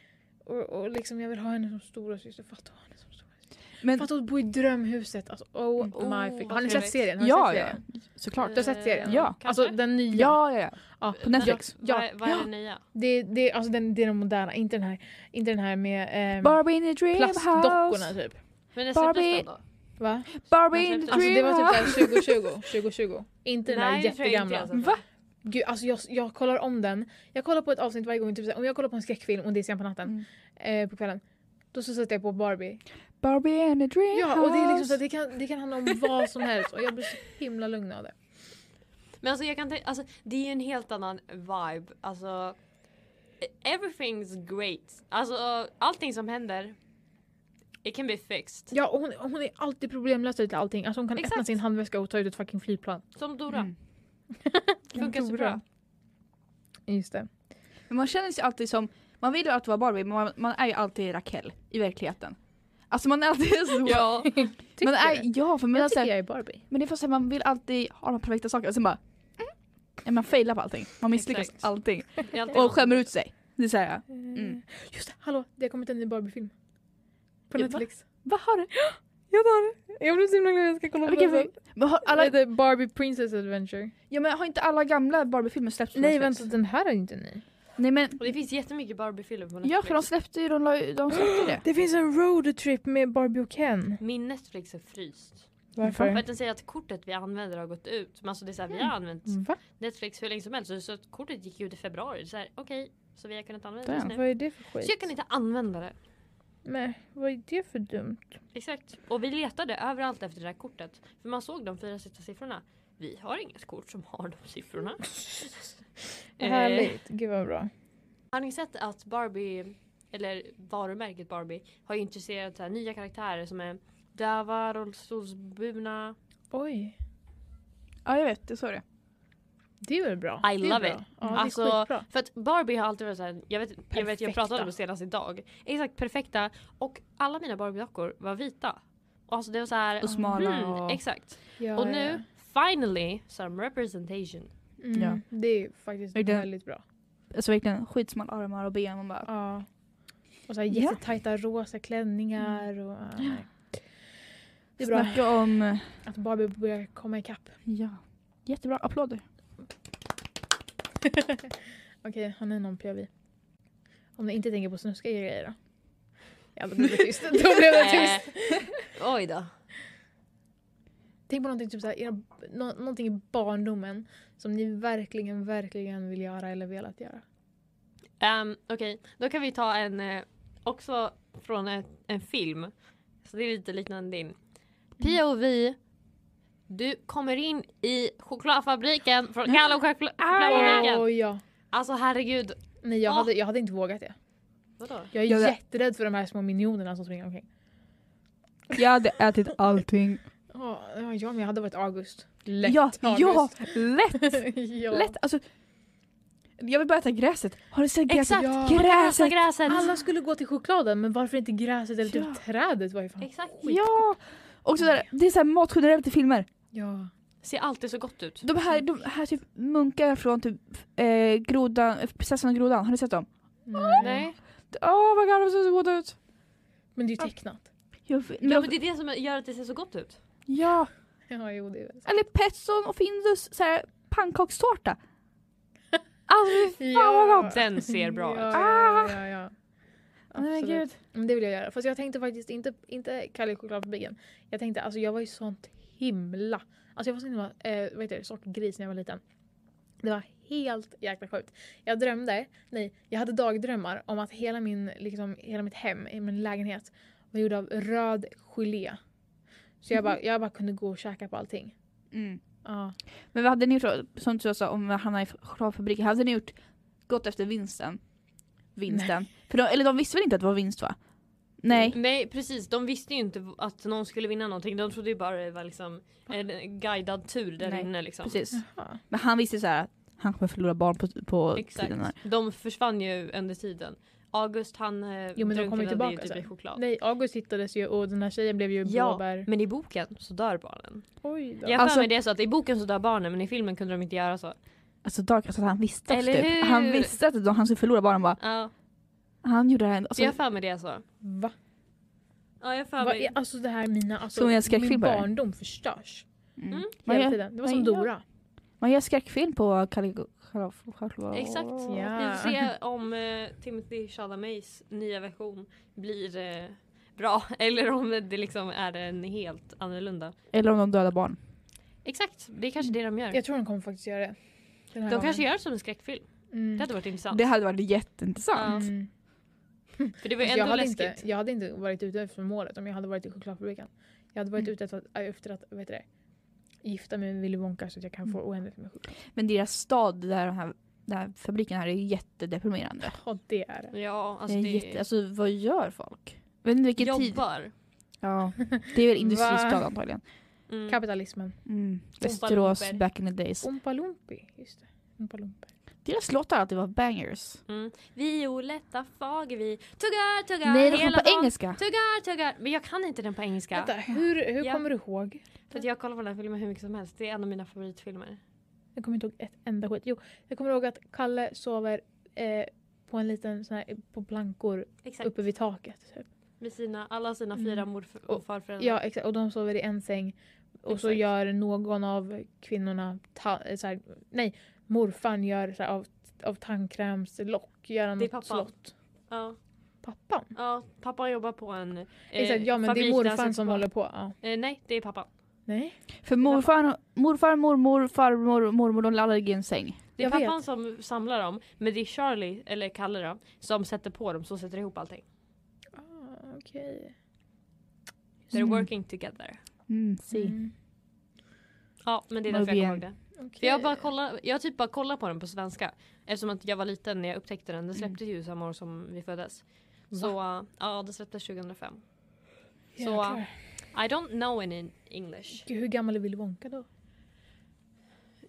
Speaker 2: Och, och liksom jag vill ha henne som stora syster. Fatta att ha henne som stora syster.
Speaker 1: men,
Speaker 2: Fatta att bo i drömhuset. Alltså, oh
Speaker 1: Mm.
Speaker 3: Oh,
Speaker 2: my freaking- Har
Speaker 3: vad
Speaker 2: ni sett
Speaker 3: trevligt.
Speaker 2: serien? Har ni
Speaker 1: ja,
Speaker 2: sett
Speaker 1: ja,
Speaker 2: serien?
Speaker 1: såklart.
Speaker 2: Du har sett serien?
Speaker 3: Eh,
Speaker 1: Ja.
Speaker 2: Alltså
Speaker 3: kanske?
Speaker 2: den nya.
Speaker 1: Ja, ja, ja.
Speaker 2: Ja.
Speaker 1: På Netflix.
Speaker 2: Ja.
Speaker 3: Vad, vad är det nya?
Speaker 2: Det, det, alltså den, det är den moderna, inte den här, inte den här med ehm,
Speaker 1: Barbie in a dream
Speaker 2: plastdockorna
Speaker 1: house.
Speaker 2: typ.
Speaker 3: Men det
Speaker 1: Barbie-
Speaker 3: släpptes den då?
Speaker 2: Va?
Speaker 1: Barbie in a
Speaker 2: Alltså det
Speaker 1: dream
Speaker 2: var
Speaker 1: house.
Speaker 2: typ såhär 2020, 2020. Inte den där
Speaker 3: Nej, det tror jag inte
Speaker 2: jättegamla.
Speaker 3: jag sett.
Speaker 1: Va?
Speaker 2: Gud, alltså jag, jag kollar om den. Jag kollar på ett avsnitt varje gång. Typ, såhär, om jag kollar på en skräckfilm och det är sent på natten, eh, på kvällen. Då så sätter jag på Barbie.
Speaker 1: Barbie in a dream
Speaker 2: Ja, och det, är liksom
Speaker 1: house.
Speaker 2: så att det, kan, det kan handla om vad som helst och jag blir så himla lugn av det.
Speaker 3: Men alltså jag kan tänka, alltså det är ju en helt annan vibe. Alltså everything's great. Alltså allting som händer, it can be fixed.
Speaker 2: Ja, och hon, hon är alltid problemlös till allting. Alltså hon kan öppna
Speaker 3: Exakt.
Speaker 2: sin handväska och ta ut ett fucking flygplan.
Speaker 3: Som Dora.
Speaker 1: Mm.
Speaker 3: Det funkar så
Speaker 2: Dora.
Speaker 3: bra.
Speaker 2: Just det.
Speaker 1: Men man känner sig alltid som, man vill ju alltid vara Barbie men man, man är ju alltid Raquel i verkligheten. Alltså man är alltid så.
Speaker 3: Ja.
Speaker 2: Tycker
Speaker 1: man
Speaker 2: man
Speaker 1: är, ja för man
Speaker 2: jag
Speaker 1: är så
Speaker 2: tycker
Speaker 1: här,
Speaker 2: jag är Barbie.
Speaker 1: men det är för att man vill alltid ha de perfekta sakerna och sen bara mm, man failar på allting. Man misslyckas
Speaker 3: Exakt.
Speaker 1: allting.
Speaker 3: Det är alltid
Speaker 1: Och
Speaker 3: någon-
Speaker 1: skämmer ut sig. Det säger jag. Mm.
Speaker 2: Mm. Just det, hallå, det har kommit en ny Barbie-film. På
Speaker 1: Ja,
Speaker 2: Netflix.
Speaker 1: Vad har du?
Speaker 2: Jag tar det. Jag blir så himla glad jag ska kolla
Speaker 1: Vilken film? Men har, alla,
Speaker 2: heter Barbie Princess Adventure.
Speaker 1: ja, men har inte alla gamla Barbie-filmer släppts på
Speaker 2: Nej
Speaker 1: Netflix?
Speaker 2: vänta, den här är inte ny.
Speaker 1: Nej men,
Speaker 3: Och det finns jättemycket Barbie-filmer på
Speaker 1: ja för de
Speaker 3: Netflix.
Speaker 1: släppte ju, de, la ju- de släppte ju det.
Speaker 2: Det finns en roadtrip med Barbie och Ken.
Speaker 3: Min Netflix är fryst. För
Speaker 2: Varför?
Speaker 3: att den säger att kortet vi använder har gått ut. Men alltså det är såhär, vi
Speaker 1: Mm.
Speaker 3: har använt
Speaker 2: Va?
Speaker 3: Netflix hur länge som helst. Så- Så att kortet gick ut i februari. Det är Såhär, okej. Så vi har kunnat använda det just
Speaker 1: Damn.
Speaker 3: nu.
Speaker 2: Vad är det för skit?
Speaker 3: Så jag kan inte använda det.
Speaker 2: Nej, vad är det för dumt?
Speaker 3: Exakt. Och vi letade överallt efter det där kortet. För man såg de fyra sista siffrorna. Vi har inget kort som har de siffrorna.
Speaker 2: Vad
Speaker 3: eh,
Speaker 2: Härligt, gud vad bra.
Speaker 3: har ni sett att Barbie, eller varumärket Barbie, har intresserat så här, nya karaktärer som är döva, rullstolsburna.
Speaker 2: Oj,
Speaker 1: Ja jag vet, jag såg det.
Speaker 2: det är väl bra?
Speaker 3: I
Speaker 2: det är
Speaker 3: love
Speaker 2: bra.
Speaker 3: it.
Speaker 2: Ja, det är
Speaker 3: Alltså,
Speaker 2: skitbra.
Speaker 3: För att Barbie har alltid varit såhär, jag vet, jag vet jag pratade
Speaker 2: Perfekta.
Speaker 3: om det senast idag. Exakt, perfekta. Och alla mina Barbie-dockor var vita. Och alltså det var såhär,
Speaker 1: Och smala och...
Speaker 3: exakt.
Speaker 2: Ja,
Speaker 3: och nu, finally, some representation.
Speaker 2: ja. Mm,
Speaker 1: Ja.
Speaker 2: Det är faktiskt
Speaker 1: Är det-
Speaker 2: väldigt bra.
Speaker 1: Alltså verkligen skitsmal armar och ben. Man bara,
Speaker 2: Ja. Och så här
Speaker 1: Ja.
Speaker 2: jättetajta rosa klänningar. Och, ja, nej. Det är bra
Speaker 1: Snacka om...
Speaker 2: att Barbie börjar komma ikapp.
Speaker 1: Ja. Jättebra, applåder.
Speaker 2: Okej, har ni någon POV? Om ni inte tänker på snuska grejer då? Ja, då blev det tyst. då blev det tyst.
Speaker 3: Eh, oj då.
Speaker 2: Tänk på någonting, typ såhär, era, nå, någonting i barndomen som ni verkligen, verkligen vill göra eller velat göra.
Speaker 3: Ehm, Okej, då kan vi ta en eh, också från ett, en film. Så det är lite liknande din. POV. Du kommer in i chokladfabriken från
Speaker 1: Mm.
Speaker 3: Kalle och chokla- chokladfabriken.
Speaker 2: Åh ja.
Speaker 3: Alltså herregud.
Speaker 2: Nej, jag,
Speaker 3: Åh.
Speaker 2: hade, jag hade inte vågat det.
Speaker 3: Vadå?
Speaker 2: Jag är
Speaker 1: Jag-
Speaker 2: jätterädd för de här små minionerna som springer omkring.
Speaker 1: Jag hade ätit allting.
Speaker 2: Ja, ja, men jag hade varit August. Lätt
Speaker 1: ja,
Speaker 2: August.
Speaker 1: ja, lätt!
Speaker 2: ja.
Speaker 1: Lätt, alltså. Jag vill bara äta gräset. Har du sett gräset?
Speaker 3: Exakt!
Speaker 2: Ja.
Speaker 3: man kan rasa
Speaker 1: Gräset!
Speaker 3: gräset.
Speaker 2: Alla skulle gå till chokladen men varför inte gräset eller typ
Speaker 1: Ja.
Speaker 2: trädet? Vad är fan?
Speaker 3: Exakt.
Speaker 1: Ja! Och sådär, det är såhär mat generellt i filmer.
Speaker 2: Ja.
Speaker 3: Ser alltid så gott ut.
Speaker 1: De här, de här typ munkar från typ eh, grodan, eh, prinsessan och grodan, har ni sett dem?
Speaker 2: Mm.
Speaker 3: Nej.
Speaker 1: Åh oh my god, de ser så goda ut!
Speaker 2: Men det är ju tecknat.
Speaker 1: Jag vet-
Speaker 3: Ja, men det är det som gör att det ser så gott ut.
Speaker 1: ja,
Speaker 2: Ja, jo, det är väl.
Speaker 1: eller Petson och Findus såhär pannkakstårta. Alltså
Speaker 2: Ja.
Speaker 1: vad gott!
Speaker 3: Den ser bra
Speaker 2: ja,
Speaker 3: ut.
Speaker 2: Ja, ja, ja, ja.
Speaker 1: Nej
Speaker 2: Absolut.
Speaker 1: gud.
Speaker 2: Men det vill jag göra. Fast jag tänkte faktiskt inte, inte Kalle chokladfabriken. Jag tänkte, alltså jag var ju sånt himla... Alltså jag var sån himla, eh, vad heter det, sockergris när jag var liten. Det var helt jäkla sjukt. Jag drömde, nej, jag hade dagdrömmar om att hela, min, liksom, hela mitt hem, i min lägenhet, var gjord av röd gelé. Så jag
Speaker 3: Mhm.
Speaker 2: bara, jag bara kunde gå och käka på allting.
Speaker 1: Mm.
Speaker 2: Ja.
Speaker 1: Men vad hade ni gjort, som du sa om Hanna i chokladfabriken, hade ni gjort gått efter vinsten? Vinsten. För de, eller de visste väl inte att det var vinst va? Nej.
Speaker 3: Nej precis, de visste ju inte att någon skulle vinna någonting. De trodde ju bara det var liksom en guidad tur där
Speaker 1: Nej,
Speaker 3: inne liksom.
Speaker 1: Precis.
Speaker 2: Jaha.
Speaker 1: Men han visste så här att han kommer förlora barn på, på
Speaker 3: Exakt.
Speaker 1: tiden här.
Speaker 3: De försvann ju under tiden. August han eh,
Speaker 2: Jo, men de kommer
Speaker 3: drunknade
Speaker 2: tillbaka
Speaker 3: ju typ
Speaker 2: sen.
Speaker 3: i choklad.
Speaker 2: Nej, August hittades ju och den här tjejen blev ju
Speaker 3: Ja,
Speaker 2: blåbär.
Speaker 3: men i boken så dör barnen.
Speaker 2: Oj då.
Speaker 3: Jag har
Speaker 1: Alltså-
Speaker 3: för mig det är så att i boken så dör barnen men i filmen kunde de inte göra så.
Speaker 1: Alltså Dark, alltså, han visste också
Speaker 3: Eller
Speaker 1: typ.
Speaker 3: hur?
Speaker 1: Han visste att de- han skulle förlora barnen bara.
Speaker 3: Ja,
Speaker 1: Han gjorde det här ändå.
Speaker 3: så jag har
Speaker 1: Alltså,
Speaker 3: för mig det är så.
Speaker 2: Va?
Speaker 3: Ja, jag har för
Speaker 2: Va?
Speaker 3: mig.
Speaker 2: Alltså det här mina, alltså,
Speaker 1: Som en
Speaker 2: min
Speaker 1: skräckfilm bara.
Speaker 2: barndom förstörs.
Speaker 1: mm.
Speaker 3: Mm.
Speaker 1: man,
Speaker 2: Hela
Speaker 1: gör,
Speaker 2: tiden. Det var som
Speaker 1: vad gör-
Speaker 2: Dora.
Speaker 1: man gör skräckfilm på Caligo... Kalif- Kalif-
Speaker 3: Exakt.
Speaker 2: Ja.
Speaker 3: Vi får se om eh, Timothy Chalamets nya version blir eh, bra eller om det liksom är en helt annorlunda.
Speaker 1: Eller om de dödar barn.
Speaker 3: Exakt, det är kanske det de gör.
Speaker 2: Jag tror de kommer faktiskt göra det. Den här
Speaker 3: De kanske
Speaker 2: gången.
Speaker 3: gör som en skräckfilm.
Speaker 2: Mm.
Speaker 3: Det hade varit intressant.
Speaker 1: Det hade varit jätteintressant.
Speaker 2: Mm.
Speaker 3: För det var ju
Speaker 2: Alltså, jag,
Speaker 3: ändå
Speaker 2: hade
Speaker 3: läskigt.
Speaker 2: inte, jag hade inte varit ute efter målet om jag hade varit i chokladfabriken. Jag hade varit
Speaker 1: Mm.
Speaker 2: ute efter att, äh, efter att vad heter det, gifta mig med Willy Wonka så att jag kan få oändligt med choklad.
Speaker 1: Men deras stad, där den här, den här fabriken här, är jättedeprimerande.
Speaker 2: Ja, det är det.
Speaker 3: Ja,
Speaker 1: Alltså,
Speaker 3: alltså det
Speaker 1: Jätte, alltså vad gör folk? Vet inte vilken tid.
Speaker 3: jobbar.
Speaker 1: Ja, det är väl industristad
Speaker 2: Va?
Speaker 1: antagligen.
Speaker 3: Mm.
Speaker 2: Kapitalismen.
Speaker 1: Mm. Västerås
Speaker 3: Lumper.
Speaker 1: back in the days.
Speaker 2: Oompa Loompi. Just det. Oompa Loompi.
Speaker 1: Deras låtar har alltid varit bangers.
Speaker 3: Mm. Violetta fager vi tuggar, tuggar
Speaker 1: Nej, de sjöng på
Speaker 3: dagen.
Speaker 1: engelska.
Speaker 3: Tuggar, tuggar. Men jag kan inte den på engelska.
Speaker 2: Vänta, hur, hur
Speaker 3: Ja.
Speaker 2: kommer du ihåg?
Speaker 3: För att jag kollar på den här filmen hur mycket som helst. Det är en av mina favoritfilmer.
Speaker 2: Jag kommer inte ihåg ett enda skit. Jo, jag kommer ihåg att Kalle sover eh, på en liten sån här, på plankor
Speaker 3: Exakt.
Speaker 2: uppe vid taket. Typ.
Speaker 3: Med sina, alla sina
Speaker 2: Mm.
Speaker 3: fyra morf- och
Speaker 2: Och-
Speaker 3: farföräldrar.
Speaker 2: Ja, exakt. Och de sover i en säng. Och så
Speaker 3: Exakt.
Speaker 2: gör någon av kvinnorna, ta, eh, så här, nej, morfan gör så här, av, av tandkrämslock, gör han
Speaker 3: Det är
Speaker 2: något
Speaker 3: pappan.
Speaker 2: slott.
Speaker 3: Ja,
Speaker 2: Pappan?
Speaker 3: ja, pappa jobbar på en eh, alltså,
Speaker 2: exakt, ja men det är
Speaker 3: fabrik där han
Speaker 2: morfan
Speaker 3: sätter
Speaker 2: som
Speaker 3: på-
Speaker 2: håller på. Ja.
Speaker 3: Eh, nej, det är pappa.
Speaker 2: Nej.
Speaker 1: För morfar, morfar mormor, farmor, mormor, de lallade i en säng.
Speaker 3: Det är
Speaker 2: Jag
Speaker 3: pappan
Speaker 2: vet.
Speaker 3: som samlar dem. Men det är Charlie, eller Kalle då, som sätter på dem så sätter ihop allting.
Speaker 2: Ah, Okej.
Speaker 3: They're
Speaker 1: Mm.
Speaker 3: working together.
Speaker 1: Mm, si.
Speaker 2: Mm,
Speaker 3: Ja, men det är
Speaker 1: Vad
Speaker 3: därför jag
Speaker 1: vi
Speaker 3: kommer
Speaker 1: än-
Speaker 3: ihåg det. För
Speaker 2: okej.
Speaker 3: jag, bara kollar, jag typ bara kollar på den på svenska. Eftersom att jag var liten när jag upptäckte den. Den släpptes ju samma år som vi föddes. Så uh, ja, den släpptes 2005. Så
Speaker 2: Jäklar.
Speaker 3: I don't know any in English.
Speaker 2: Gud, hur gammal är Willy Wonka då?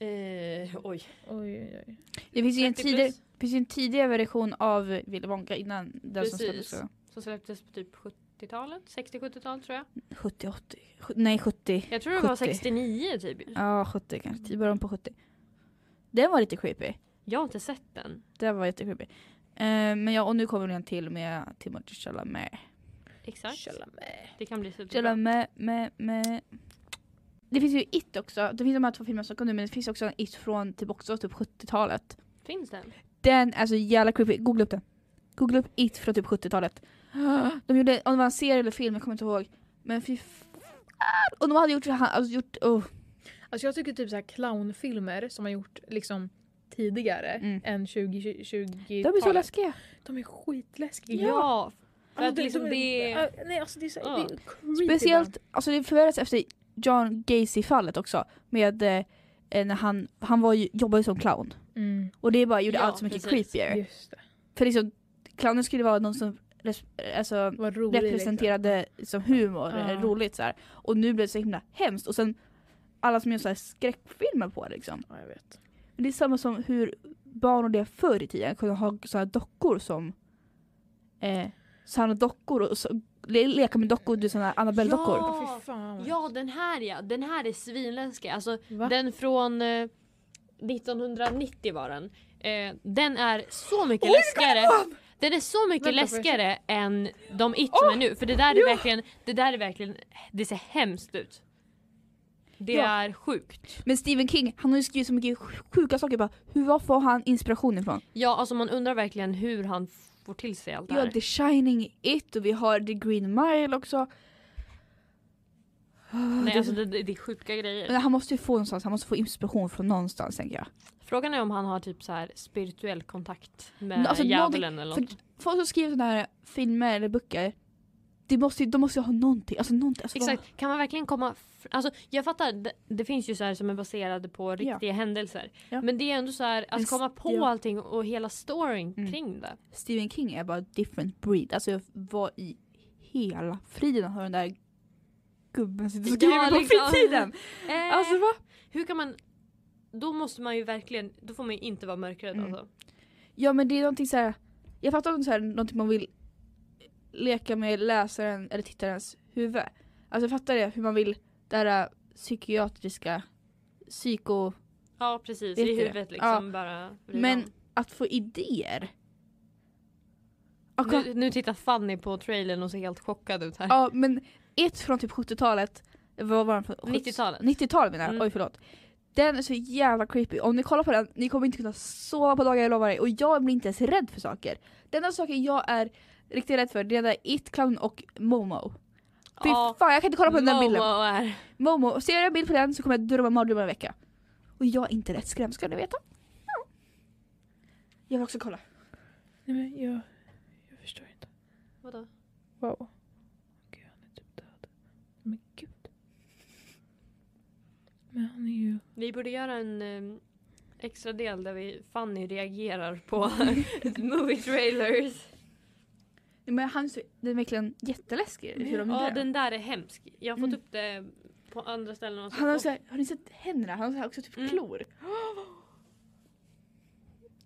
Speaker 3: Eh, oj.
Speaker 2: Oj, oj, oj.
Speaker 1: Det finns ju en,
Speaker 3: 30
Speaker 1: tidig,
Speaker 3: plus.
Speaker 1: finns ju en tidigare version av Willy Wonka innan den som
Speaker 3: Precis.
Speaker 1: släpptes. då.
Speaker 3: Som släpptes på typ 70-talet, 70-70-talet tror jag.
Speaker 1: 70, 80, sju- nej 70.
Speaker 3: Jag tror det var
Speaker 1: 70.
Speaker 3: 69 typ.
Speaker 1: Ja 70 kanske, i början på 70. Den var lite creepy.
Speaker 3: Jag har inte sett den.
Speaker 1: Den var jättecreepy. Eh, men ja, och nu kommer det en till med Timothy Chalamet.
Speaker 3: Exakt.
Speaker 2: Chalamet.
Speaker 3: Det kan bli superbra.
Speaker 1: Chalamet, med, med. Det finns ju It också, det finns de här två filmerna som kom nu men det finns också en It från typ också typ 70-talet.
Speaker 3: Finns den?
Speaker 1: Den är så jävla creepy, googla upp den. Googla upp It från typ 70-talet. De gjorde, om det var en serie eller film, jag kommer inte ihåg. Men fy fan. Och de hade gjort, så här- alltså gjort, oh.
Speaker 2: Alltså jag tycker typ så här clownfilmer som har gjort liksom tidigare
Speaker 1: Mm.
Speaker 2: än 2020 20,
Speaker 1: de är så läskiga.
Speaker 2: De är skitläskiga.
Speaker 3: Ja! För
Speaker 2: Alltså,
Speaker 3: att liksom
Speaker 2: är-
Speaker 3: det-
Speaker 2: Ja, nej alltså det är så
Speaker 3: Ja.
Speaker 2: det är creepy liksom.
Speaker 1: Speciellt, alltså det förvärras efter John Gacy-fallet också. Med eh, när han, han var ju, jobbade ju som clown.
Speaker 2: ibland. Mm,
Speaker 1: Och det bara gjorde
Speaker 3: Ja,
Speaker 1: allt så mycket
Speaker 3: precis.
Speaker 1: creepigare.
Speaker 2: just det.
Speaker 1: För liksom, clownen skulle vara någon som res- alltså,
Speaker 2: Vad
Speaker 3: liksom.
Speaker 2: roligt.
Speaker 1: representerade liksom, humor,
Speaker 2: Ja.
Speaker 1: eller roligt så här. Och nu blev det så himla hemskt. Och sen alla som gör så här skräckfilmer på det liksom.
Speaker 2: Liksom. Ja, jag vet.
Speaker 1: Men det är samma som hur barn och det förr i tiden kunde ha så här dockor som eh, sådana dockor och så, le, leka med dockor, du sådana Annabelle-dockor.
Speaker 3: Ja.
Speaker 2: Ja, fy fan. vad-
Speaker 3: Ja, den här ja. Den här är svinläskig. Alltså
Speaker 2: Va?
Speaker 3: Den från eh, 1990 var den. Eh, den är så mycket läskigare. Den är så mycket
Speaker 2: Vänta, får jag se?
Speaker 3: läskigare än de It som är nu. För det där är verkligen, det där är verkligen, det ser hemskt ut. Det
Speaker 1: Ja.
Speaker 3: är sjukt.
Speaker 1: Men Stephen King, han har ju skrivit så mycket sjuka saker bara. Hur, var får han inspiration ifrån?
Speaker 3: Ja, alltså man undrar verkligen hur han får till sig allt det
Speaker 1: Ja,
Speaker 3: här.
Speaker 1: The Shining It och vi har The Green Mile också.
Speaker 3: Nej, alltså det, det det är sjuka grejer.
Speaker 1: Men han måste ju få någonstans, han måste få inspiration från någonstans tänker jag.
Speaker 3: Frågan är om han har typ så här spirituell kontakt med
Speaker 1: Alltså,
Speaker 3: djävulen eller
Speaker 1: För
Speaker 3: något.
Speaker 1: folk som skriver sådana här filmer eller böcker, de måste ju de måste ju ha någonting. Alltså någonting. Alltså, vad-
Speaker 3: Exakt, kan man verkligen komma... fr- Alltså, jag fattar, det, det finns ju så här som är baserade på riktiga händelser.
Speaker 1: Ja.
Speaker 3: Men det är ändå så här att
Speaker 1: Visst,
Speaker 3: komma på
Speaker 1: ja.
Speaker 3: allting och hela storyn
Speaker 1: Mm.
Speaker 3: kring det.
Speaker 1: Stephen King är bara different breed. Alltså jag var i hela friden har den där gubben sitter och
Speaker 3: Ja,
Speaker 1: skriver på
Speaker 3: liksom.
Speaker 1: fritiden.
Speaker 3: Eh,
Speaker 1: Alltså va?
Speaker 3: hur kan man... Då måste man ju verkligen, då får man ju inte vara mörkrädd
Speaker 1: Mm.
Speaker 3: alltså.
Speaker 1: Ja men det är någonting såhär, Jag fattar inte så här, någonting man vill leka med läsaren eller tittarens huvud. Alltså jag fattar det, hur man vill det här psykiatriska, psyko...
Speaker 3: Ja precis,
Speaker 1: Vet du
Speaker 3: i
Speaker 1: det?
Speaker 3: huvudet liksom bara. vrida
Speaker 1: Men
Speaker 3: om.
Speaker 1: att få idéer. Ja, kolla-
Speaker 3: Nu, nu tittar Fanny på trailern och ser helt chockad ut här.
Speaker 1: Ja men ett från typ 70-talet, vad var den? från?
Speaker 3: 90-talet.
Speaker 1: 90-talet menar jag,
Speaker 3: Mm.
Speaker 1: oj förlåt. Den är så jävla creepy, om ni kollar på den, ni kommer inte kunna sova på dagar jag lovar er. Och jag blir inte ens rädd för saker. Den enda saken jag är riktigt rädd för det är den där It Clown och Momo. Fy
Speaker 3: Ja,
Speaker 1: fan jag kan inte kolla på den där bilden.
Speaker 3: Momo är-
Speaker 1: Momo, och ser jag en bild på den så kommer jag drömma mardrömmar i en vecka. Och jag är inte rätt skrämd ska ni veta. Ja. Jag vill också kolla.
Speaker 2: Nej men jag, jag förstår inte.
Speaker 3: Vadå?
Speaker 2: Wow. Gud han är typ död. Men gud. Men han är ju...
Speaker 3: Vi borde göra en eh, extra del där vi Fanny reagerar på movie trailers.
Speaker 1: Men han är så- den är verkligen jätteläskig hur de
Speaker 3: Ja
Speaker 1: gjorde
Speaker 3: den där är hemsk. Jag har fått
Speaker 1: Mm.
Speaker 3: upp det på andra ställen också.
Speaker 1: Han har,
Speaker 3: Alltså, Och
Speaker 1: så här, har ni sett händerna? Han har så här också typ
Speaker 3: Mm.
Speaker 1: klor.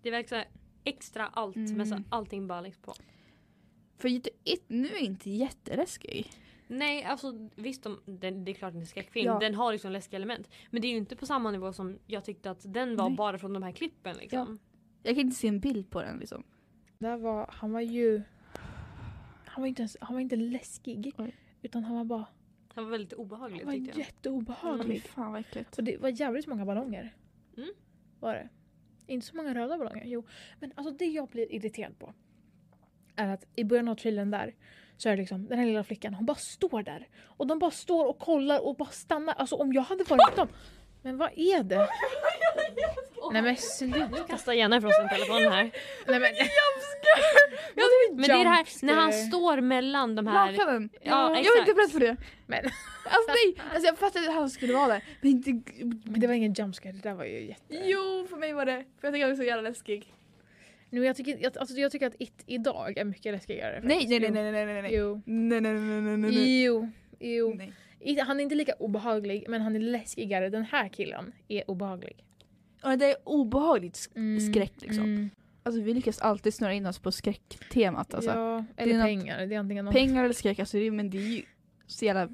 Speaker 3: Det verkar så här extra allt med så här,
Speaker 1: Mm.
Speaker 3: allting bara liksom på.
Speaker 1: För inte- it, nu är inte jätteläskig.
Speaker 3: Nej, alltså visst, de, den, det är klart den är skräckfilm.
Speaker 1: Ja.
Speaker 3: Den har liksom läskiga element. Men det är ju inte på samma nivå som jag tyckte att den var
Speaker 1: Nej.
Speaker 3: bara från de här klippen. Liksom.
Speaker 1: Jag kan inte se en bild på den liksom.
Speaker 2: Där var, han var ju... Han var inte, ens, han var inte läskig.
Speaker 1: Oj.
Speaker 2: Utan han var bara...
Speaker 3: Den var väldigt
Speaker 2: Han
Speaker 3: obehaglig
Speaker 2: var
Speaker 3: tyckte jag.
Speaker 2: jätteobehaglig.
Speaker 1: Fy fan vad äckligt.
Speaker 2: Och det var jävligt många ballonger.
Speaker 3: Mm.
Speaker 2: Var det. Inte så många röda ballonger. Jo. Men alltså det jag blir irriterad på. Är att i början av trailern där. Så är det liksom den här lilla flickan. Hon bara står där. Och de bara står och kollar och bara stannar. Alltså om jag hade varit dem. Men vad är det? Nej men sluta.
Speaker 3: Kasta gärna ifrån sin telefon här.
Speaker 2: Nej men.
Speaker 3: Men det är det här när han
Speaker 2: Jumpscare.
Speaker 3: står mellan de här...
Speaker 1: Lakanen!
Speaker 3: Ja,
Speaker 1: jag är inte
Speaker 3: exakt.
Speaker 1: beredd för det.
Speaker 2: Men,
Speaker 1: Alltså nej! Alltså, jag fattade att han skulle vara där. Men inte...
Speaker 2: men det var ingen jumpscare. Det där var ju jätte...
Speaker 1: Jo för mig var det. För jag tycker han är så jävla läskig.
Speaker 2: Nu, jag, tycker, jag, alltså, jag tycker att It idag är mycket läskigare.
Speaker 1: Nej
Speaker 2: faktiskt.
Speaker 1: nej nej nej nej nej nej.
Speaker 2: Jo.
Speaker 1: Nej nej nej nej nej nej.
Speaker 2: Jo. Jo.
Speaker 1: Nej.
Speaker 2: I- Han är inte lika obehaglig men han är läskigare. Den här killen är obehaglig.
Speaker 1: Och det är obehagligt sk-
Speaker 2: Mm,
Speaker 1: skräck liksom.
Speaker 2: mm.
Speaker 1: Alltså vi lyckas alltid snurra in oss på skräcktemat alltså.
Speaker 2: ja,
Speaker 1: är
Speaker 2: eller
Speaker 1: något-
Speaker 2: pengar. Det är antingen någon...
Speaker 1: Pengar eller skräck, alltså det, är- men det är ju så jävla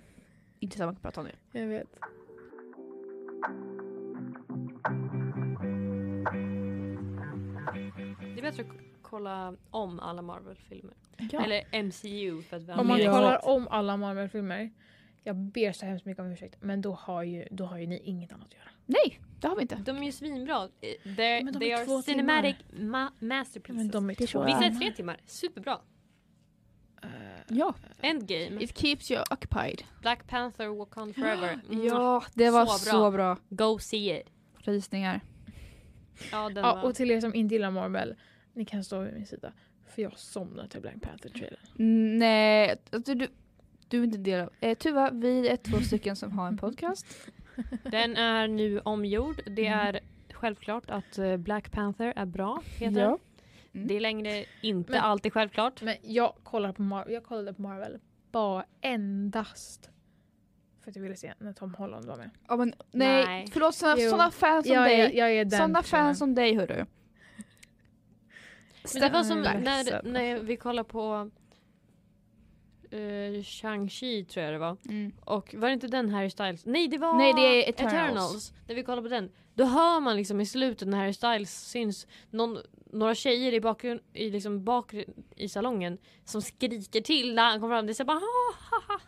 Speaker 1: inte samma man kan prata om det.
Speaker 2: Jag vet.
Speaker 3: Det är bättre att k- kolla om alla Marvel-filmer.
Speaker 1: Ja.
Speaker 3: Eller MCU för att vi har
Speaker 2: Om man
Speaker 3: mer-
Speaker 1: Ja.
Speaker 2: kollar om alla Marvel-filmer. Jag ber så hemskt mycket om ursäkt men då har ju, då har ju ni inget annat att göra.
Speaker 1: Nej, det har vi inte.
Speaker 3: De är ju svinbra. Eh, They're,
Speaker 2: Men de är
Speaker 3: they
Speaker 2: två
Speaker 3: are cinematic ma- masterpieces.
Speaker 2: Men de är
Speaker 1: Det
Speaker 2: två. Eh,
Speaker 1: tror jag.
Speaker 3: Vissa är tre timmar, superbra.
Speaker 1: Ja.
Speaker 3: Endgame,
Speaker 1: It keeps you occupied.
Speaker 3: Black Panther, Wakanda Forever.
Speaker 1: Ja, Mm. det var
Speaker 3: Så
Speaker 1: så
Speaker 3: bra.
Speaker 1: bra.
Speaker 3: Go see it.
Speaker 1: Rysningar.
Speaker 3: Ja, den
Speaker 2: Ja,
Speaker 3: var...
Speaker 2: och till er som inte gillar Marvel, ni kan stå vid min sida. För jag somnar till Black Panther-trailern.
Speaker 1: Mm, Nej, alltså, du, du är inte en del av... Eh, Tuva, vi är två stycken som har en podcast.
Speaker 3: Den är nu omgjord. Det är självklart att eh, Black Panther är bra. Heter
Speaker 1: Ja.
Speaker 3: den.
Speaker 1: Mm.
Speaker 3: Det är längre inte
Speaker 2: Men-
Speaker 3: alltid självklart.
Speaker 2: Men jag kollar på Marvel, jag kollade på Marvel bara endast för att jag ville se när Tom Holland var med.
Speaker 1: Ja, men, nej,
Speaker 3: Nej.
Speaker 1: förlåt såna,
Speaker 2: Jo.
Speaker 1: såna fans som
Speaker 2: Jag är,
Speaker 1: Alltså dig.
Speaker 2: jag är den
Speaker 1: Såna
Speaker 2: personen.
Speaker 1: fans som dig hörru.
Speaker 3: Men det var som
Speaker 1: Back.
Speaker 3: när, när vi kollade på eh, Shang-Chi tror jag det var.
Speaker 1: Mm.
Speaker 3: Och var det inte den Harry Styles? Nej det var
Speaker 1: Nej, det är Eternals.
Speaker 3: När vi kollar på den. Då hör man liksom i slutet när Harry Styles syns någon, några tjejer i bakgrund i, liksom bakgrund, i salongen som skriker till när han kommer fram. Det är så här bara "Ah, ha, ha.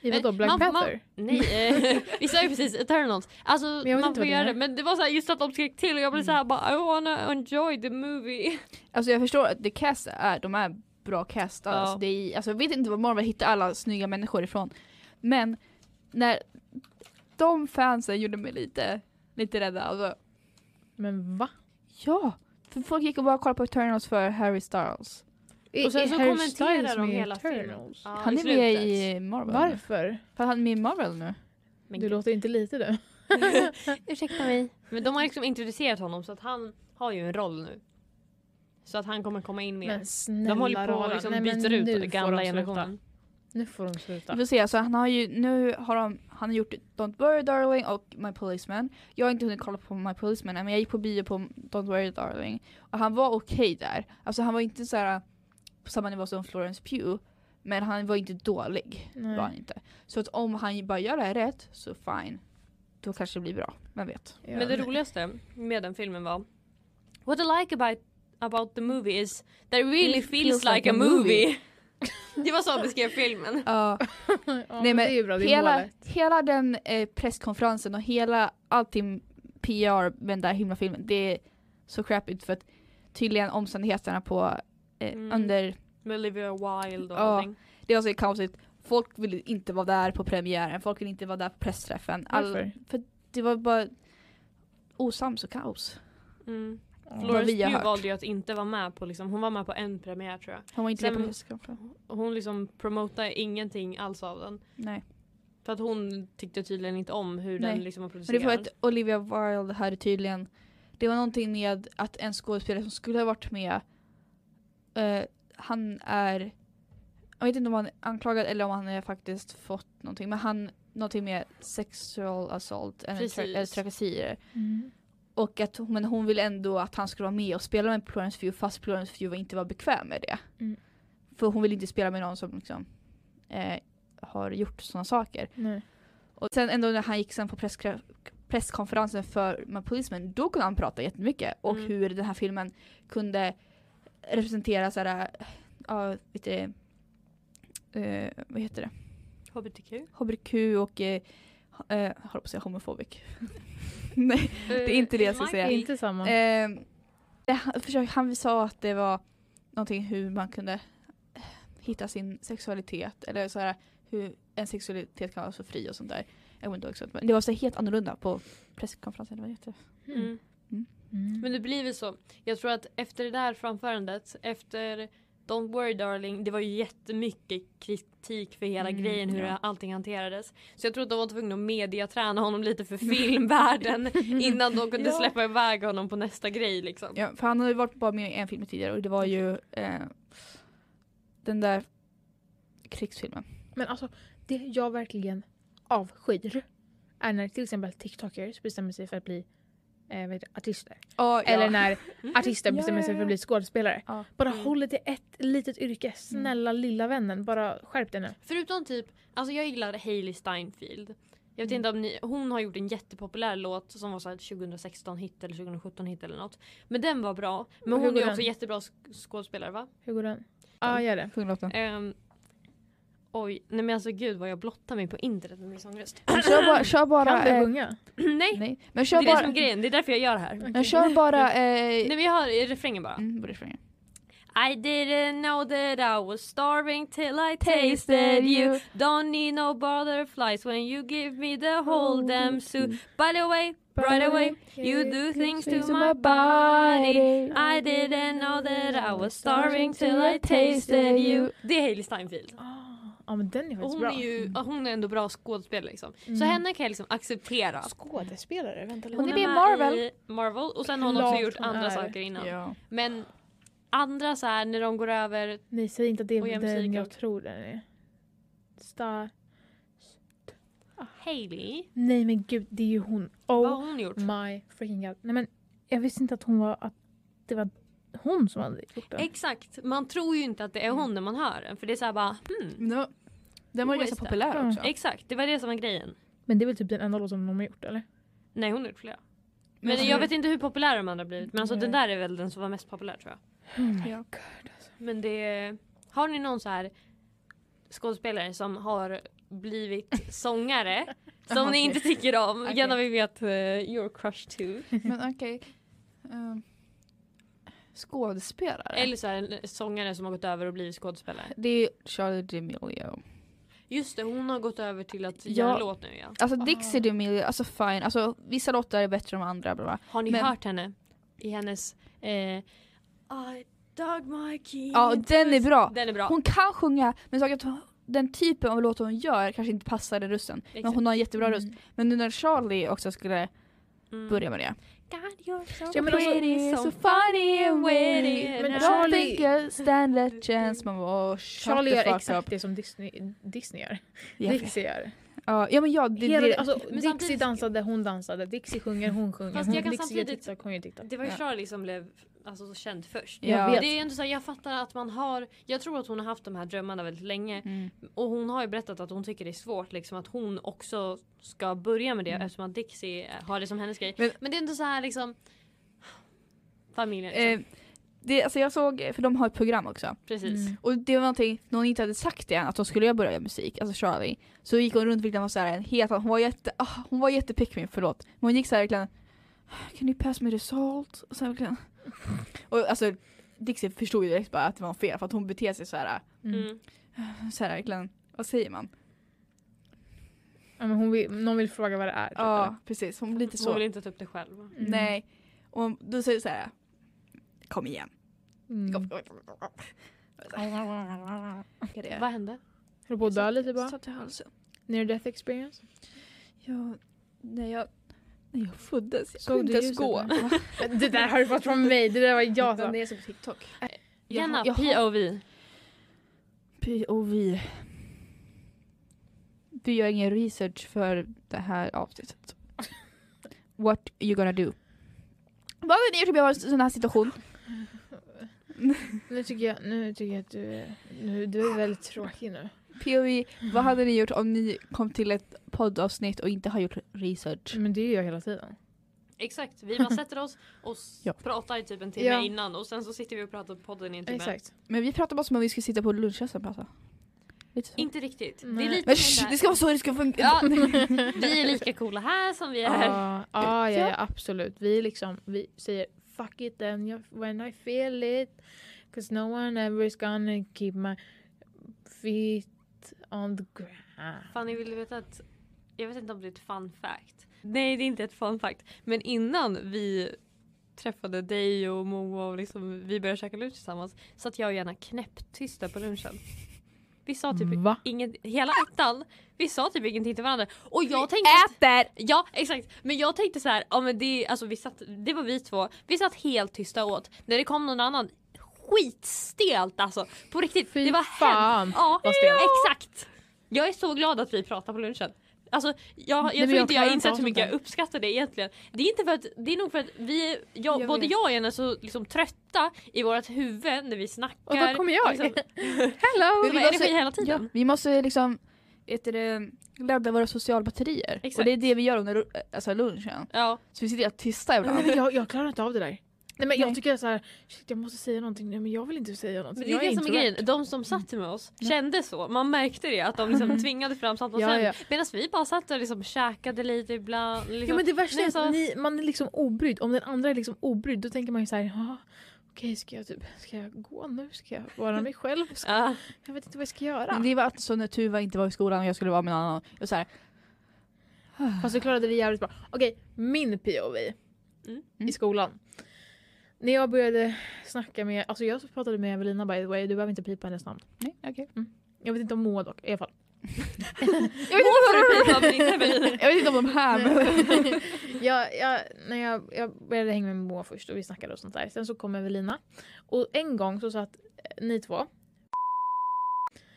Speaker 2: I
Speaker 3: Men
Speaker 2: vadå, Black
Speaker 3: man- man-
Speaker 2: Panther?
Speaker 3: Nej, eh, vi sa ju precis Eternals. Alltså
Speaker 2: jag vet inte
Speaker 3: man får
Speaker 2: vad det
Speaker 3: göra
Speaker 2: är.
Speaker 3: det. Men det var så här, just att de skrek till och jag blev så här bara I wanna enjoy the movie.
Speaker 1: Alltså jag förstår att the cast är, de är bra castade.
Speaker 3: Ja.
Speaker 1: Alltså, det är, alltså jag vet inte var Marvel hittar alla snygga människor ifrån. Men när de fansen gjorde mig lite, lite rädda. Alltså,
Speaker 2: Men va?
Speaker 1: ja! För folk gick och bara kollade på Eternals för Harry Styles.
Speaker 3: Och sen så
Speaker 2: Harry
Speaker 3: kommenterar
Speaker 2: Styles
Speaker 3: de
Speaker 2: med
Speaker 3: hela filmen.
Speaker 2: Eternals?
Speaker 3: Ja,
Speaker 1: han är med
Speaker 3: slutet.
Speaker 1: i Marvel. nu.
Speaker 2: Varför?
Speaker 1: För han är med i Marvel nu.
Speaker 3: Men
Speaker 2: du
Speaker 3: gud.
Speaker 2: låter inte lite du.
Speaker 3: Ursäkta mig. Men de har liksom introducerat honom så att han har ju en roll nu. Så att han kommer komma in mer.
Speaker 2: Men snälla
Speaker 3: de håller på
Speaker 2: rara.
Speaker 3: och liksom
Speaker 2: Nej, men
Speaker 3: byter ut
Speaker 2: nu
Speaker 3: den
Speaker 2: får
Speaker 3: gamla
Speaker 2: de sluta.
Speaker 3: generationen.
Speaker 2: Nu får de
Speaker 1: Vi
Speaker 2: sluta.
Speaker 1: får se, alltså han har ju, nu har de, Han har gjort Don't Worry Darling och My Policeman. Jag har inte hunnit kolla på My Policeman än, men jag gick på bio på Don't Worry Darling. Och han var okej där. Alltså han var inte så här på samma nivå som Florence Pugh. Men han var inte dålig. Var han
Speaker 2: Nej.
Speaker 1: inte. Så att om han bara gör det här rätt, så fine. Då kanske det blir bra, vem vet.
Speaker 2: Ja.
Speaker 3: Men det roligaste med den filmen var What I like about, about the movie is that it really
Speaker 1: It
Speaker 3: feels, like, a movie. det var så han beskrev filmen.
Speaker 1: Ja.
Speaker 2: ja,
Speaker 1: Nej,
Speaker 2: men
Speaker 1: men
Speaker 2: det är ju bra, det är
Speaker 1: hela,
Speaker 2: målet.
Speaker 1: hela den eh, presskonferensen och hela allting PR med den där himlafilmen, det är så crappigt för att tydligen omständigheterna på eh,
Speaker 3: Mm.
Speaker 1: under,
Speaker 3: Med Olivia Wilde
Speaker 1: Ja.
Speaker 3: och allting.
Speaker 1: det var så kaosigt. Folk ville inte vara där på premiären, folk ville inte vara där på pressträffen. All,
Speaker 2: Varför?
Speaker 1: det var bara osams och kaos.
Speaker 3: Mm.
Speaker 2: Ja.
Speaker 1: Vad
Speaker 3: Florence
Speaker 1: vi har
Speaker 3: Pugh
Speaker 1: hört.
Speaker 3: valde ju att inte vara med på liksom, hon var med på en premiär tror jag.
Speaker 1: Hon var inte
Speaker 3: Sen-
Speaker 1: där på presskonferensen.
Speaker 3: Och Hon liksom promotade ingenting alls av den.
Speaker 1: Nej.
Speaker 3: För att hon tyckte tydligen inte om hur
Speaker 1: Nej.
Speaker 3: den liksom var
Speaker 1: Men det
Speaker 3: producerad.
Speaker 1: var att Olivia Wilde hade tydligen, det var någonting med att en skådespelare som skulle ha varit med, eh, han är, jag vet inte om han är anklagad eller om han har faktiskt fått någonting, men han, någonting med sexual assault eller
Speaker 3: Precis.
Speaker 1: tra- eller trakasserier.
Speaker 2: Mm.
Speaker 1: Och att, hon- men hon ville ändå att han skulle vara med och spela med Florence Pugh fast Florence Pugh var- inte var bekväm med det.
Speaker 2: Mm.
Speaker 1: För hon vill inte spela med någon som liksom, eh, har gjort sådana saker.
Speaker 2: Nej.
Speaker 1: Och sen ändå när han gick sen på presskra- presskonferensen för med polisen, då kunde han prata jättemycket och
Speaker 3: Mm.
Speaker 1: hur den här filmen kunde representera såhär, ja vet du det, eh, vad heter det,
Speaker 3: HBTQ?
Speaker 1: hbtq och, eh, eh, jag håller på att säga homofobik. Nej, är inte det jag ska
Speaker 2: Det
Speaker 1: säga.
Speaker 2: är inte samma.
Speaker 1: eh, det, han, försökte- han sa att det var någonting hur man kunde eh, hitta sin sexualitet eller så här, hur en sexualitet kan vara så fri och sånt där. Jag kommer inte ihåg exakt, men det var så helt annorlunda på presskonferensen. Eller vad heter det?
Speaker 3: Mm.
Speaker 2: Mm.
Speaker 3: Men det blir väl så. Jag tror att efter det där framförandet, efter Don't worry darling, det var ju jättemycket kritik för hela
Speaker 1: Mm,
Speaker 3: grejen hur
Speaker 1: ja.
Speaker 3: allting hanterades. Så jag tror att de var tvungna att mediaträna honom lite för filmvärlden innan de kunde
Speaker 1: Ja.
Speaker 3: släppa iväg honom på nästa grej liksom.
Speaker 1: Ja, för han hade ju varit bara med i en film tidigare och det var ju eh, den där krigsfilmen.
Speaker 2: Men alltså, det jag verkligen avskyr är när till exempel TikTokers bestämmer sig för att bli eh, vad heter det, artister. Eller när artister
Speaker 1: Ja,
Speaker 2: bestämmer
Speaker 1: ja,
Speaker 2: sig för
Speaker 1: ja.
Speaker 2: att bli skådespelare.
Speaker 1: Ja.
Speaker 2: Bara
Speaker 3: Mm.
Speaker 2: håll det till ett litet yrke. Snälla lilla vännen, bara skärp dig nu.
Speaker 3: Förutom typ, alltså jag gillar Hailey Steinfeld. Jag vet inte om ni, hon har gjort en jättepopulär låt som var så här 2016 hit eller 2017 hit eller något. Men den var bra. Men
Speaker 2: Hur
Speaker 3: hon
Speaker 2: går
Speaker 3: är ju
Speaker 2: den?
Speaker 3: också jättebra sk- skådespelare va?
Speaker 2: Hur går den? Ja, ah, gör det.
Speaker 1: Sjunglåten.
Speaker 3: Ehm, oj, nej men alltså gud vad jag blottar mig på internet med min sångröst.
Speaker 1: Men Kör bara... Kör bara
Speaker 2: Kan du
Speaker 1: eh,
Speaker 2: sjunga?
Speaker 3: nej!
Speaker 1: nej, men
Speaker 3: Det
Speaker 1: kör
Speaker 3: är det som
Speaker 1: bara...
Speaker 3: är grejen, det är därför jag gör det här.
Speaker 1: Men kör bara... Eh,
Speaker 3: Nej men jag har refrängen bara.
Speaker 1: mm, borde springa.
Speaker 3: I didn't know that I was starving till I tasted you Don't need no butterflies when you give me the whole damn soup By the way, right away, you do things to my body I didn't know that I was starving till I tasted you Det är Hailey Steinfeld.
Speaker 2: Ah, ja, men den är faktiskt
Speaker 3: Och hon
Speaker 2: bra.
Speaker 3: är ju ja, hon är ändå bra skådespelare liksom. Så
Speaker 2: Mm.
Speaker 3: henne kan jag liksom acceptera.
Speaker 2: Skådespelare? Vänta
Speaker 1: Hon är med i
Speaker 3: med
Speaker 1: Marvel.
Speaker 3: i Marvel och sen har hon också
Speaker 2: Klart
Speaker 3: gjort
Speaker 2: hon
Speaker 3: andra
Speaker 2: är.
Speaker 3: saker innan.
Speaker 1: Ja.
Speaker 3: Men andra så här när de går över
Speaker 2: Nej, säg inte att det är
Speaker 3: Och gör
Speaker 2: den
Speaker 3: musik
Speaker 2: jag
Speaker 3: och-
Speaker 2: tror
Speaker 3: tror
Speaker 2: den är. Star...
Speaker 3: Hailey,
Speaker 2: Nej men gud, det är ju hon.
Speaker 3: vad har
Speaker 2: Oh
Speaker 3: hon gjort?
Speaker 2: my freaking god. Nej men jag visste inte att hon var... Att det var hon som hade gjort den.
Speaker 3: Exakt, man tror ju inte att det är
Speaker 1: Mm.
Speaker 3: hon när man hör den för det är så här bara hmm.
Speaker 1: Men Den var, den var ju
Speaker 3: Who is
Speaker 1: ganska
Speaker 3: that?
Speaker 1: populär
Speaker 2: Mm.
Speaker 1: också.
Speaker 3: Exakt, det var det som var grejen.
Speaker 2: Men det är väl typ den enda låten de har gjort eller?
Speaker 3: Nej hon har gjort flera. Men
Speaker 1: alltså-
Speaker 3: jag vet inte hur populära de andra har blivit men alltså
Speaker 1: Mm.
Speaker 2: Nej.
Speaker 3: den där är väl den som var mest populär tror jag.
Speaker 1: Ja. alltså.
Speaker 3: Men det Har ni någon så här skådespelare som har blivit sångare som
Speaker 1: Okej.
Speaker 3: ni inte tycker om?
Speaker 1: Okej.
Speaker 3: Gärna vi vet eh, your crush too.
Speaker 1: Men okej. Ehm, skådespelare?
Speaker 3: Eller så här, en sångare som har gått över och blivit skådespelare.
Speaker 1: Det är Charlie D'Amelio.
Speaker 3: Just det, hon har gått över till att
Speaker 1: Ja.
Speaker 3: göra låt nu ja.
Speaker 1: Alltså Dixie D'Amelio, alltså fine. Alltså, vissa låtar är bättre än andra. Bla bla.
Speaker 3: Har ni
Speaker 1: Men-
Speaker 3: hört henne? I hennes eh, I dug my key
Speaker 1: Ja,
Speaker 3: into
Speaker 1: den är
Speaker 3: the-
Speaker 1: bra.
Speaker 3: Den är bra.
Speaker 1: Hon kan sjunga, men saken är att hon- den typen av låtar hon gör kanske inte passar den rösten. Men
Speaker 3: Exakt.
Speaker 1: hon har en jättebra
Speaker 2: Mm.
Speaker 1: röst. Men nu när Charlie också skulle
Speaker 3: Mm.
Speaker 1: börja med det.
Speaker 3: God, you're so
Speaker 2: Ja, men alltså-
Speaker 3: pretty, so
Speaker 1: funny
Speaker 3: and witty. Men
Speaker 1: Men
Speaker 2: Charlie-
Speaker 1: Charlie... Don't stand a chance. Man bara, oh, shut
Speaker 2: Charlie
Speaker 1: the
Speaker 2: gör
Speaker 1: fuck
Speaker 2: exakt
Speaker 1: up.
Speaker 2: det som Disney, Disney gör.
Speaker 1: Jag vet.
Speaker 2: Dixie gör.
Speaker 1: Ja, ja men ja, det,
Speaker 2: Hela,
Speaker 1: det,
Speaker 2: alltså, Dixie
Speaker 3: samtidigt-
Speaker 2: dansade, hon dansade. Dixie sjunger, hon sjunger.
Speaker 3: Fast
Speaker 2: hon,
Speaker 3: jag kan
Speaker 2: Dixie gör
Speaker 3: samtidigt-
Speaker 2: TikTok, hon gör TikTok.
Speaker 3: Det var ju
Speaker 1: Ja.
Speaker 3: Charlie som blev alltså, så känd först.
Speaker 1: Ja.
Speaker 2: Jag
Speaker 3: Men
Speaker 2: vet.
Speaker 3: Det är ju ändå så här, jag fattar att man har, jag tror att hon har haft de här drömmarna väldigt länge
Speaker 1: mm.
Speaker 3: och hon har ju berättat att hon tycker det är svårt liksom att hon också ska börja med det
Speaker 1: Mm.
Speaker 3: eftersom att Dixie har det som hennes grej.
Speaker 1: Men-
Speaker 3: Men, det är ändå så här liksom familjen liksom.
Speaker 1: eh, det, alltså jag såg, för de har ett program också.
Speaker 3: Precis.
Speaker 2: Mm.
Speaker 1: Och det var någonting, när hon inte hade sagt det än, att hon skulle börja göra musik, alltså Charlie. Så gick hon runt vilken var såhär en het, hon var jätte, ah, hon var jätte pick-me, förlåt. Men hon gick såhär verkligen, can you pass me the salt? Så här, verkligen. Och alltså Dixie förstod ju direkt bara att det var fel för att hon beter sig såhär,
Speaker 2: Mm.
Speaker 3: Mm.
Speaker 1: såhär verkligen, vad säger man?
Speaker 2: Ja, men hon vill, någon vill fråga vad det är. typ,
Speaker 1: Ja precis, hon blir lite så.
Speaker 3: Hon vill inte ta upp det själv.
Speaker 2: Mm.
Speaker 1: Nej. Och då säger du såhär, kom igen.
Speaker 2: eller?
Speaker 1: Kom.
Speaker 2: Mm.
Speaker 1: Är det-
Speaker 3: Vad hände?
Speaker 2: Höll på att dö lite bara.
Speaker 1: Satt i halsen.
Speaker 2: Near death experience.
Speaker 1: Ja, när jag, när jag föddes, jag
Speaker 2: Såg
Speaker 1: kunde
Speaker 2: du
Speaker 1: inte ens
Speaker 2: ljuset
Speaker 1: gå.
Speaker 2: där? Det där har du fått från mig, det där var jag
Speaker 1: Utan
Speaker 2: som...
Speaker 1: det är som på TikTok.
Speaker 3: Jenna,
Speaker 1: jag har-
Speaker 3: POV.
Speaker 1: POV. Du gör ingen research för det här avsnittet. What you gonna do? Vad hade ni gjort om jag var i en sån här situation?
Speaker 2: Nu tycker jag, nu tycker jag att du är, nu, du är väldigt tråkig nu.
Speaker 1: POV, vad hade ni gjort om ni kom till ett poddavsnitt och inte har gjort research?
Speaker 2: Men det är jag hela tiden.
Speaker 3: Exakt, vi bara sätter oss och s-
Speaker 1: Ja.
Speaker 3: pratar i typ en timme
Speaker 2: Ja.
Speaker 3: innan och sen så sitter vi och pratar på podden i en timme.
Speaker 2: Exakt.
Speaker 1: Men vi pratar bara som om vi skulle sitta på lunchrasten och prata. Lite så.
Speaker 3: Inte riktigt. Det
Speaker 2: Nej.
Speaker 3: är lite
Speaker 1: Men
Speaker 3: mer
Speaker 1: shh,
Speaker 3: så här-
Speaker 1: det ska vara så det ska funka.
Speaker 3: Ja, vi är lika coola här som vi är här.
Speaker 2: Ja, ja, ja,
Speaker 1: Ja.
Speaker 2: ja, absolut. Vi liksom, vi säger fuck it then you- when I feel it. Cause no one ever is gonna keep my feet on the ground.
Speaker 3: Fanny, vill du veta att... Jag vet inte om det är ett fun fact. Nej, det är inte ett fun fact. Men innan vi träffade dig och Moa och liksom, vi började käka lunch tillsammans satt jag och Jenna knäpptysta på lunchen. Vi sa typ
Speaker 2: Va?
Speaker 3: inget, hela ettan, vi sa typ ingenting till varandra. Och jag tänkte...
Speaker 1: Äter!
Speaker 3: Ja exakt, men jag tänkte så här, ja men det, alltså vi satt, det var vi två, vi satt helt tysta åt. När det kom någon annan, skitstelt alltså. På riktigt,
Speaker 2: Fy
Speaker 3: det var
Speaker 2: fan,
Speaker 3: hemskt. Ja,
Speaker 2: vad stelt.
Speaker 3: exakt. Jag är så glad att vi pratar på lunchen. Alltså, jag, jag
Speaker 2: Nej, men
Speaker 3: tror
Speaker 2: jag
Speaker 3: inte
Speaker 2: klarar
Speaker 3: jag har
Speaker 2: inte av
Speaker 3: insett hur
Speaker 2: sånt
Speaker 3: mycket
Speaker 2: där.
Speaker 3: jag uppskattar det egentligen. Det är, inte för att, det är nog för att vi, jag,
Speaker 1: Jag
Speaker 3: både
Speaker 1: vet.
Speaker 3: jag och Jenna är så liksom, trötta i vårt huvud när vi snackar.
Speaker 2: Och då kommer jag.
Speaker 3: Liksom,
Speaker 2: Hello!
Speaker 3: det var energi hela
Speaker 1: Ja,
Speaker 3: tiden.
Speaker 1: vi måste liksom heter det, ladda våra sociala batterier.
Speaker 3: Exakt.
Speaker 1: Och det är det vi gör under lu- alltså lunchen.
Speaker 3: Ja.
Speaker 1: Så vi sitter helt tysta
Speaker 2: Nej,
Speaker 1: ibland.
Speaker 2: men jag, jag klarar inte av det där. Nej, men
Speaker 1: Nej.
Speaker 2: Jag tycker så här, shit, jag måste säga någonting. Nej, men jag vill inte säga någonting.
Speaker 3: Men det är
Speaker 2: jag
Speaker 3: det som är
Speaker 2: introvert.
Speaker 3: grejen, de som satt med oss kände så, man märkte det att de liksom tvingade fram samtal
Speaker 2: Ja,
Speaker 3: sen. liksom-
Speaker 2: ja.
Speaker 3: Medan vi bara satt och liksom käkade lite ibland. Liksom.
Speaker 2: Ja, men det värsta
Speaker 3: Nej,
Speaker 2: är
Speaker 3: så-
Speaker 2: att ni, man är liksom obrydd. Om den andra är liksom obrydd då tänker man ju så här, "Jaha, okej ska jag typ, ska jag gå nu? Ska jag vara mig själv? Ska,
Speaker 3: Ja.
Speaker 2: jag vet inte vad jag ska göra.
Speaker 1: Men det var alltså så när Tuva inte var i skolan och jag skulle vara med någon annan. Jag så här,
Speaker 2: Fast så klarade vi jävligt bra. Okej, min POV
Speaker 3: Mm.
Speaker 1: Mm.
Speaker 2: i skolan. När jag började snacka med, alltså jag pratade med Evelina by the way, du behöver inte pipa hennes namn.
Speaker 1: nej okej.
Speaker 2: Jag vet inte om Moa dock, i alla fall.
Speaker 1: Jag, vet inte vad-
Speaker 3: Pipa, men inte vi.
Speaker 1: jag vet inte om de här men...
Speaker 2: jag, jag, när jag, jag började hänga med Moa först och vi snackade och sånt där. Sen så kom Evelina. Och en gång så satt eh, ni två.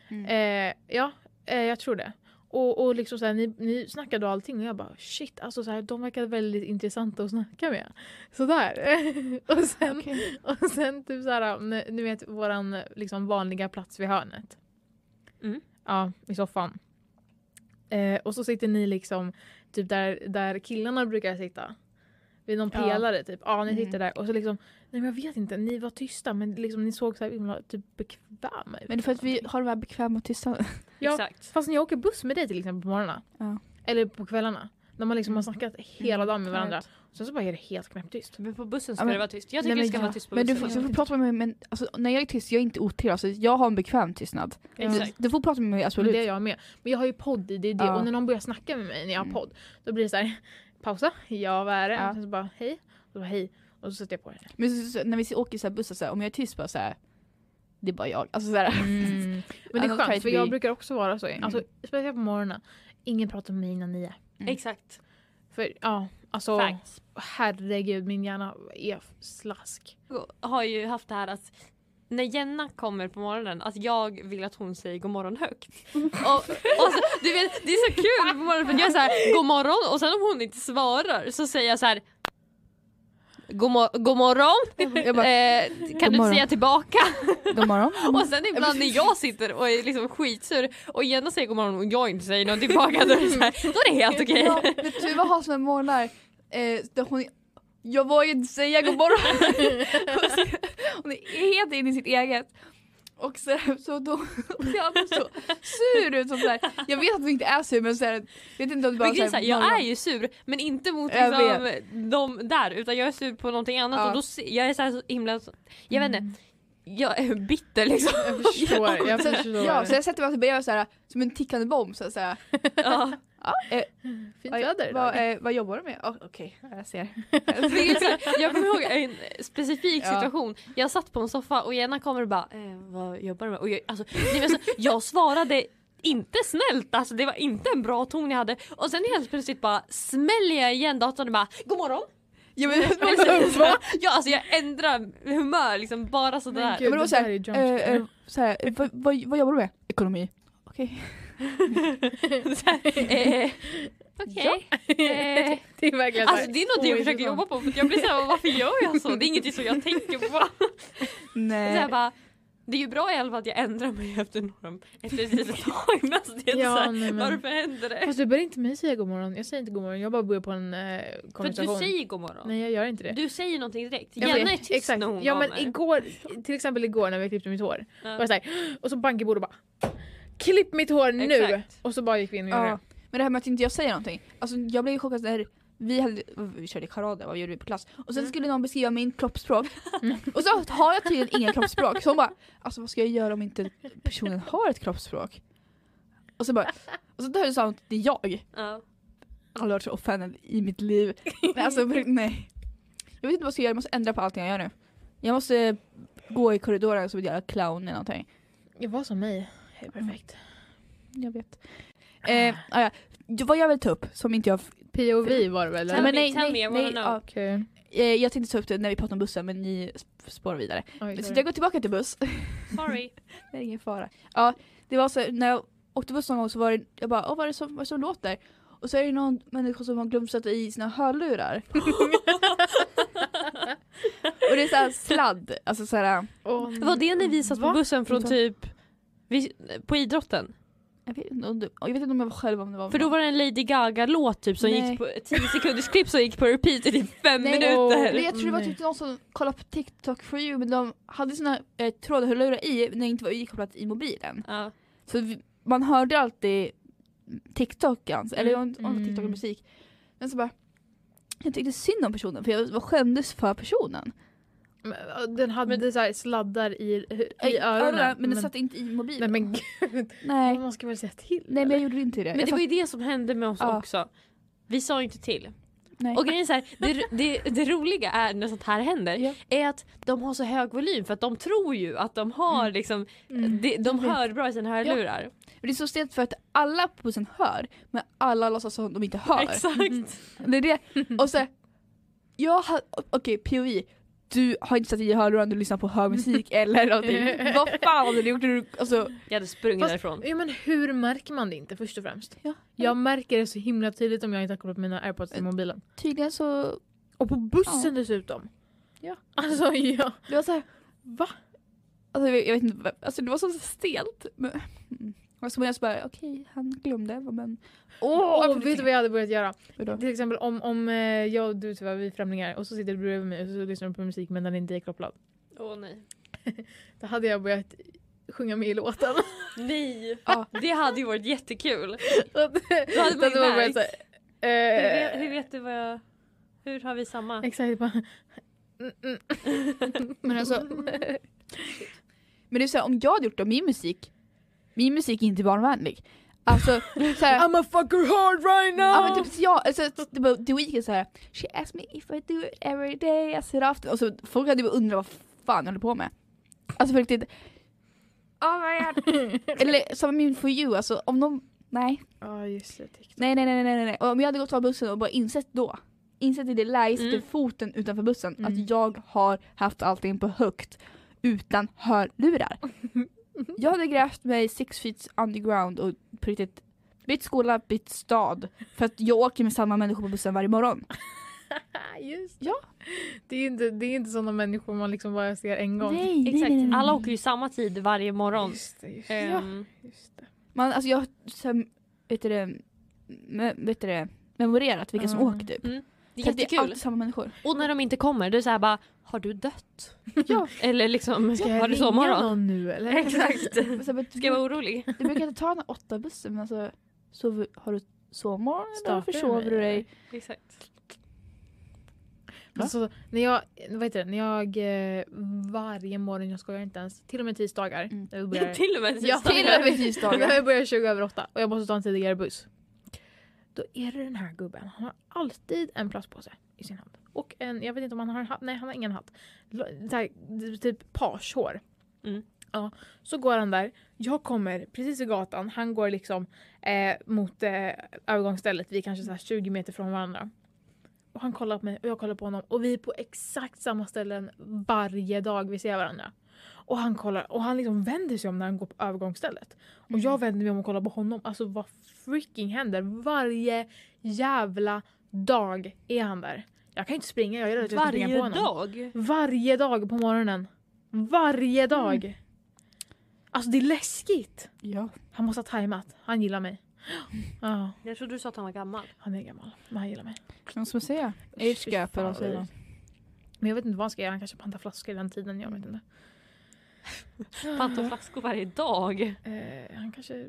Speaker 1: Mm.
Speaker 2: Eh, ja, eh, jag tror det. Och, och liksom så här, ni, ni snackade och allting och jag bara shit, alltså så här, de verkar väldigt intressanta att snacka med. Sådär. och sen,
Speaker 1: Okej.
Speaker 2: och sen typ så här, n- ni vet våran liksom, vanliga plats vid hörnet.
Speaker 3: Mm.
Speaker 2: Ja, i soffan. Eh, och så sitter ni liksom typ där, där killarna brukar sitta. Vid någon
Speaker 1: Ja.
Speaker 2: pelare typ. Ja, ni
Speaker 1: Mm.
Speaker 2: sitter där. Och så liksom, nej men jag vet inte, ni var tysta men liksom, ni såg så här himla typ bekväma ut. liksom.
Speaker 1: Men det är för att vi har de här bekväma och tysta.
Speaker 2: Ja.
Speaker 3: Exakt.
Speaker 2: Fast när jag åker buss med dig till exempel på morgnarna.
Speaker 1: Ja.
Speaker 2: Eller på kvällarna. När man liksom har snackat hela dagen med
Speaker 1: Mm,
Speaker 2: varandra. Sen så bara är det helt knäpptyst.
Speaker 3: Men på bussen ska
Speaker 1: Ja, men-
Speaker 3: det vara tyst. Jag
Speaker 1: Nej,
Speaker 3: tycker
Speaker 1: men
Speaker 3: det ska
Speaker 1: ja.
Speaker 3: vara tyst på
Speaker 1: Men
Speaker 3: bussen.
Speaker 1: du får, du får prata med mig men alltså, när jag är tyst jag är inte otrevlig. Alltså, jag har en bekväm tystnad.
Speaker 3: Exakt.
Speaker 1: Du, du får prata med mig
Speaker 2: Mm. Men
Speaker 1: absolut.
Speaker 2: det är jag med. Men jag har ju podd i det, är det.
Speaker 1: Ja.
Speaker 2: och när någon börjar snacka med mig när jag har
Speaker 1: Mm.
Speaker 2: podd då blir det så här, pausa, ja vad är det?
Speaker 1: Ja.
Speaker 2: Och sen så bara hej, och så bara hej. Och så sätter jag på henne.
Speaker 1: Men så, så, när vi så- åker i så här bussar så här, om jag är tyst bara så här, det är bara jag. Alltså, så här.
Speaker 2: Mm. Men det är
Speaker 1: Annars kan
Speaker 2: skönt
Speaker 1: inte
Speaker 2: för
Speaker 1: vi-
Speaker 2: jag brukar också vara så.
Speaker 1: Mm.
Speaker 2: Alltså, speciellt på morgonen. Ingen pratar med mig innan nio.
Speaker 1: Mm.
Speaker 3: Exakt.
Speaker 2: För ja, alltså
Speaker 3: Facts.
Speaker 2: herregud min hjärna är f- slask.
Speaker 3: Har ju haft det här att när Jenna kommer på morgonen att jag vill att hon säger god morgon högt. Och, och så, du vet, det är så kul på morgonen för jag är så här, god morgon och sen om hon inte svarar så säger jag så här God, mor- god morgon!
Speaker 1: Jag bara,
Speaker 3: Eh,
Speaker 1: God
Speaker 3: kan du
Speaker 1: morgon.
Speaker 3: inte säga tillbaka?
Speaker 1: god morgon.
Speaker 3: Och sen ibland när jag sitter och är liksom skitsur och Jenna säger god morgon och jag inte säger något tillbaka då är det, så här, då är det helt okej.
Speaker 1: Ja, men Tuva har såna morgnar eh, där hon jag vågar inte säga god morgon. Och så- hon är helt inne i sitt eget. Och så, så då ser han så sur ut. Som så här. Jag vet att du inte är sur men så här, vet inte om du bara...
Speaker 3: Men grejen är
Speaker 1: så
Speaker 3: så
Speaker 1: här,
Speaker 3: här, jag är ju sur men inte mot
Speaker 1: Jag
Speaker 3: liksom, de där utan jag är sur på någonting annat
Speaker 1: Ja. Mm.
Speaker 3: och då se- jag är så, här så himla, jag vet inte, jag är bitter liksom.
Speaker 2: Mm. Jag förstår. Jag förstår.
Speaker 1: Ja, så jag sätter mig alltså bredvid så här, som en tickande bomb så att säga.
Speaker 3: Ja.
Speaker 1: Ja, eh,
Speaker 2: Fint
Speaker 1: oj,
Speaker 2: väder idag.
Speaker 1: vad, eh, vad jobbar du med? Oh, Okej, jag ser.
Speaker 3: Men det är så här, Jag kommer ihåg en specifik
Speaker 1: Ja.
Speaker 3: situation, jag satt på en soffa och Jenna kommer och bara eh, “vad jobbar du med?” och jag, alltså, nej, men alltså, jag svarade inte snällt, alltså det var inte en bra ton jag hade och sen helt plötsligt bara smäller jag igen datorn och bara “god morgon”.
Speaker 1: Ja, men,
Speaker 3: Och så- så- Ja, alltså jag ändrar humör liksom bara
Speaker 2: Men
Speaker 3: sådär.
Speaker 2: gud,
Speaker 1: men då
Speaker 2: det
Speaker 1: så här,
Speaker 2: där är ju
Speaker 1: eh,
Speaker 2: jumpscare.
Speaker 1: eh, så här, eh, vad, vad, vad jobbar du med? Ekonomi. Okej.
Speaker 3: Eh, Okej. Eh,
Speaker 2: Det är verkligen
Speaker 3: alltså
Speaker 2: så
Speaker 3: det är något jag försöker
Speaker 2: ointressant.
Speaker 3: jobba på för jag blir såhär varför gör jag så? Det är inget som jag tänker på. Så
Speaker 1: Nej.
Speaker 3: jag bara, det är ju bra i alla fall att jag ändrar mig efter några, efter ett litet tag. Men alltså, det är
Speaker 2: Ja,
Speaker 3: så här,
Speaker 2: nej, men-
Speaker 3: Varför händer det?
Speaker 2: här. Fast du ber inte mig säga god morgon. Jag säger inte god morgon. Jag bara börjar på en eh,
Speaker 3: För att du
Speaker 2: konversation.
Speaker 3: säger god morgon.
Speaker 2: Nej jag gör inte det.
Speaker 3: Du säger någonting direkt.
Speaker 2: Jag
Speaker 3: Jenna
Speaker 2: vet.
Speaker 3: är tyst
Speaker 2: Exakt.
Speaker 3: när hon
Speaker 2: Ja men
Speaker 3: kommer.
Speaker 2: igår, till exempel igår när vi klippte mitt hår.
Speaker 3: Ja.
Speaker 2: Och, jag så här, och så bank i bordet och bara Klipp mitt hår nu!
Speaker 3: Exakt.
Speaker 2: Och så bara gick vi in och gjorde
Speaker 1: Ja. Men det här med att inte jag säger någonting. Alltså jag blev ju chockad när vi, hade, vi körde karader, vad gjorde vi på klass? Och sen skulle någon beskriva min kroppsspråk. Och så har jag tydligen ingen kroppsspråk. Så hon bara, alltså vad ska jag göra om inte personen har ett kroppsspråk? Och så bara, och så tar jag sånt, det är jag.
Speaker 3: Ja.
Speaker 1: Aldrig varit så offended i mitt liv. Nej, alltså nej. Jag vet inte vad jag ska göra, jag måste ändra på allting jag gör nu. Jag måste gå i korridoren som en jävla clown eller någonting. Mm,
Speaker 2: det. Jag var som mig. Det är perfekt.
Speaker 1: Jag vet. Eh, ah, ja. Vad jag vill ta upp, som inte jag
Speaker 2: POV var det väl?
Speaker 1: Nej, men
Speaker 2: eller?
Speaker 3: Tell me,
Speaker 1: nej,
Speaker 3: tell
Speaker 1: nej,
Speaker 3: me, I wanna
Speaker 1: nej,
Speaker 3: know.
Speaker 1: ja.
Speaker 2: Okej.
Speaker 1: Eh, Jag tänkte ta upp det när vi pratade om bussen men ni sp- spårar vidare.
Speaker 3: Mm.
Speaker 2: Oj,
Speaker 1: Så
Speaker 2: sorry.
Speaker 1: jag går tillbaka till buss.
Speaker 3: Sorry.
Speaker 1: Det är ingen fara. Ja, det var så när jag åkte buss någon gång så var det, jag bara, "Åh, vad är det som, vad är det som låter? Och så är det någon människa som har glömt sätta i sina hörlurar. och det är så här sladd, alltså så här,
Speaker 2: Åh,
Speaker 3: Var det när vi satt på
Speaker 2: Va?
Speaker 3: bussen från
Speaker 1: Va?
Speaker 3: typ vi, på idrotten?
Speaker 1: jag vet, inte om det- jag vet inte om jag var själv om det var
Speaker 3: För då var det en Lady Gaga-låt typ som
Speaker 1: Nej.
Speaker 3: gick på 10 sekunders klipp som gick på repeat i typ 5
Speaker 1: Nej.
Speaker 3: minuter. Mm.
Speaker 1: Men jag tror det var
Speaker 2: Nej.
Speaker 1: typ någon som kollade på TikTok for you men de hade sina eh, trådhörlurar i när det inte var inkopplat i mobilen.
Speaker 3: Ja.
Speaker 1: Så vi, man hörde alltid TikTok, alltså, eller om om det var TikTok eller
Speaker 2: Mm.
Speaker 1: musik. Men så bara, jag tyckte synd om personen för jag var skämdes för personen.
Speaker 2: Men, eh, Den hade så här sladdar i, i öronen.
Speaker 1: men, den satt inte i
Speaker 2: Nej
Speaker 1: mobilen.
Speaker 2: men
Speaker 1: Nej.
Speaker 2: man ska väl säga till?
Speaker 1: Nej men jag gjorde inte det.
Speaker 3: Men
Speaker 1: Eh, jag
Speaker 3: det var ju det som hände med oss
Speaker 1: Ja.
Speaker 3: också. Vi sa ju inte till.
Speaker 1: satt- nej.
Speaker 3: Och grejen är så här, det, det, det roliga är när sånt här händer
Speaker 1: Ja.
Speaker 3: är att de har så hög volym för att de tror ju att de har
Speaker 1: Mm.
Speaker 3: liksom,
Speaker 2: Mm.
Speaker 3: de, de hör bra i sina hörlurar.
Speaker 1: Men det är så stelt för att alla på bussen hör men alla låtsas som de inte hör. Mm.
Speaker 3: Exakt.
Speaker 1: Det är det. Och så, jag har, okej POV, du har inte satt i hörlurarna du lyssnar på hör musik eller någonting. Vad fan hade du gjort? när du- Alltså,
Speaker 3: Jag hade sprungit
Speaker 2: Fast-
Speaker 3: därifrån.
Speaker 2: Ja men hur märker man det inte först och främst?
Speaker 1: Ja.
Speaker 2: Jag märker det så himla tydligt om jag inte har kopplat mina airpods i mobilen.
Speaker 1: tydligen så,
Speaker 2: Och på bussen dessutom.
Speaker 1: Ja.
Speaker 2: Alltså ja.
Speaker 1: det var så här,
Speaker 2: Va?
Speaker 1: Alltså jag, jag vet inte, vad- alltså det var så stelt. Men, mm. och så var jag så bara okej, han glömde vad men...
Speaker 2: Åh,
Speaker 1: varför
Speaker 2: vet du
Speaker 1: det-
Speaker 2: vad jag hade börjat göra?
Speaker 1: Vadå?
Speaker 2: Till exempel om, om eh, jag och du tyvärr, vi är främlingar och så sitter du bredvid mig och så lyssnar du på musik men den inte är kopplad.
Speaker 3: Åh nej.
Speaker 2: Då hade jag börjat sjunga med i låten.
Speaker 3: Nej!
Speaker 1: Ja.
Speaker 3: Det hade ju varit jättekul.
Speaker 2: Då hade
Speaker 3: man ju
Speaker 2: man börjat
Speaker 3: märkt.
Speaker 2: såhär...
Speaker 3: Hur vet, hur
Speaker 2: Eh,
Speaker 3: vet du vad jag... Hur har vi samma?
Speaker 2: exakt bara... Mm, mm.
Speaker 1: Men alltså, men det är så här, om jag hade gjort det, min musik, min musik är inte barnvänlig. Alltså såhär,
Speaker 2: I'm a fucker hard right now!
Speaker 1: ja men typ så jag, alltså det var The Weeknd såhär She asked me if I do it every day, I said after. Och så folk hade ju undrat vad fan jag håller på med. Alltså på riktigt. Oh my god. Eller som min For You, alltså om någon, nej.
Speaker 2: Ja just det, TikTok.
Speaker 1: Nej nej nej nej nej, nej. Och Om jag hade gått av bussen och bara insett då. Insett i det läge jag sätter
Speaker 3: Mm.
Speaker 1: foten utanför bussen
Speaker 2: Mm.
Speaker 1: att jag har haft allting på högt. utan hörlurar. Jag hade grävt mig six feet underground och på riktigt bytt skola, bytt stad. För att jag åker med samma människor på bussen varje morgon.
Speaker 2: Just
Speaker 1: Ja.
Speaker 2: Det är ju inte, det är inte sådana människor man liksom bara ser en gång.
Speaker 3: Exakt, alla åker ju samma tid varje morgon.
Speaker 2: Just det, just det.
Speaker 3: Ehm,
Speaker 2: Just det.
Speaker 1: Man, alltså jag har sen, vet du det, me- vet du det, memorerat vilka som
Speaker 2: Mm.
Speaker 1: åker typ.
Speaker 3: det
Speaker 1: För
Speaker 3: är
Speaker 1: att Det är
Speaker 3: jättekul.
Speaker 1: alltid samma människor.
Speaker 3: Och när de inte kommer, det är så här bara, har du dött?
Speaker 1: Ja.
Speaker 3: Eller liksom,
Speaker 2: Ska
Speaker 3: har
Speaker 2: jag
Speaker 3: du
Speaker 2: ringa
Speaker 3: sovmorgon?
Speaker 2: någon nu eller?
Speaker 3: Exakt.
Speaker 1: Och så bara,
Speaker 3: Ska jag vara orolig?
Speaker 1: Du brukar inte ta den här åtta bussen men alltså sov, har du sovmorgon eller
Speaker 2: Startar
Speaker 1: försover
Speaker 2: du
Speaker 1: du
Speaker 2: mig,
Speaker 1: dig?
Speaker 3: Exakt.
Speaker 1: Va?
Speaker 2: Alltså, när jag, vad heter det, när jag eh, varje morgon, jag skojar inte ens, till och med tisdagar.
Speaker 1: Mm.
Speaker 2: När vi
Speaker 3: Ja,
Speaker 2: börjar,
Speaker 3: till och med
Speaker 2: Ja,
Speaker 3: sista
Speaker 2: till
Speaker 1: Till
Speaker 2: och
Speaker 1: och
Speaker 3: dagen.
Speaker 1: med
Speaker 2: när
Speaker 1: tisdagar.
Speaker 2: vi börjar 20 över 8 och jag måste ta en tidigare buss. Då är det den här gubben, han har alltid en plastpåse i sin hand. Och en, jag vet inte om han har en hatt, nej han har ingen hatt. L- Så här, typ pagehår.
Speaker 3: Mm.
Speaker 2: Ja, så går han där, jag kommer precis vid gatan, han går liksom eh, mot eh, övergångsstället, vi är kanske så här 20 meter från varandra. Och han kollar på mig och jag kollar på honom och vi är på exakt samma ställen varje dag vi ser varandra. Och han kollar och han liksom vänder sig om när han går på övergångsstället. Och
Speaker 3: Mm.
Speaker 2: jag
Speaker 1: Mm.
Speaker 2: vänder mig om och kollar på honom. Alltså vad freaking händer? Varje jävla dag är han där. Jag kan ju inte springa, jag är rädd att jag ska springa på
Speaker 3: Varje
Speaker 2: honom.
Speaker 3: dag?
Speaker 2: Varje dag på morgonen.
Speaker 3: Mm.
Speaker 2: Varje dag. Alltså det är läskigt.
Speaker 1: Ja.
Speaker 2: Han måste ha tajmat. Han gillar mig. Ja,
Speaker 3: Jag trodde du sa att han var gammal.
Speaker 2: han är gammal. Men han gillar mig.
Speaker 1: Vad ska man säga?
Speaker 2: Fy
Speaker 1: Age gap
Speaker 2: fan,
Speaker 1: eller vad säger
Speaker 2: vad
Speaker 1: man?
Speaker 2: Men jag vet inte vad han ska göra. Han kanske pantar flaskor i den tiden. Jag vet inte.
Speaker 3: Panta flaskor varje dag.
Speaker 2: Eh, han kanske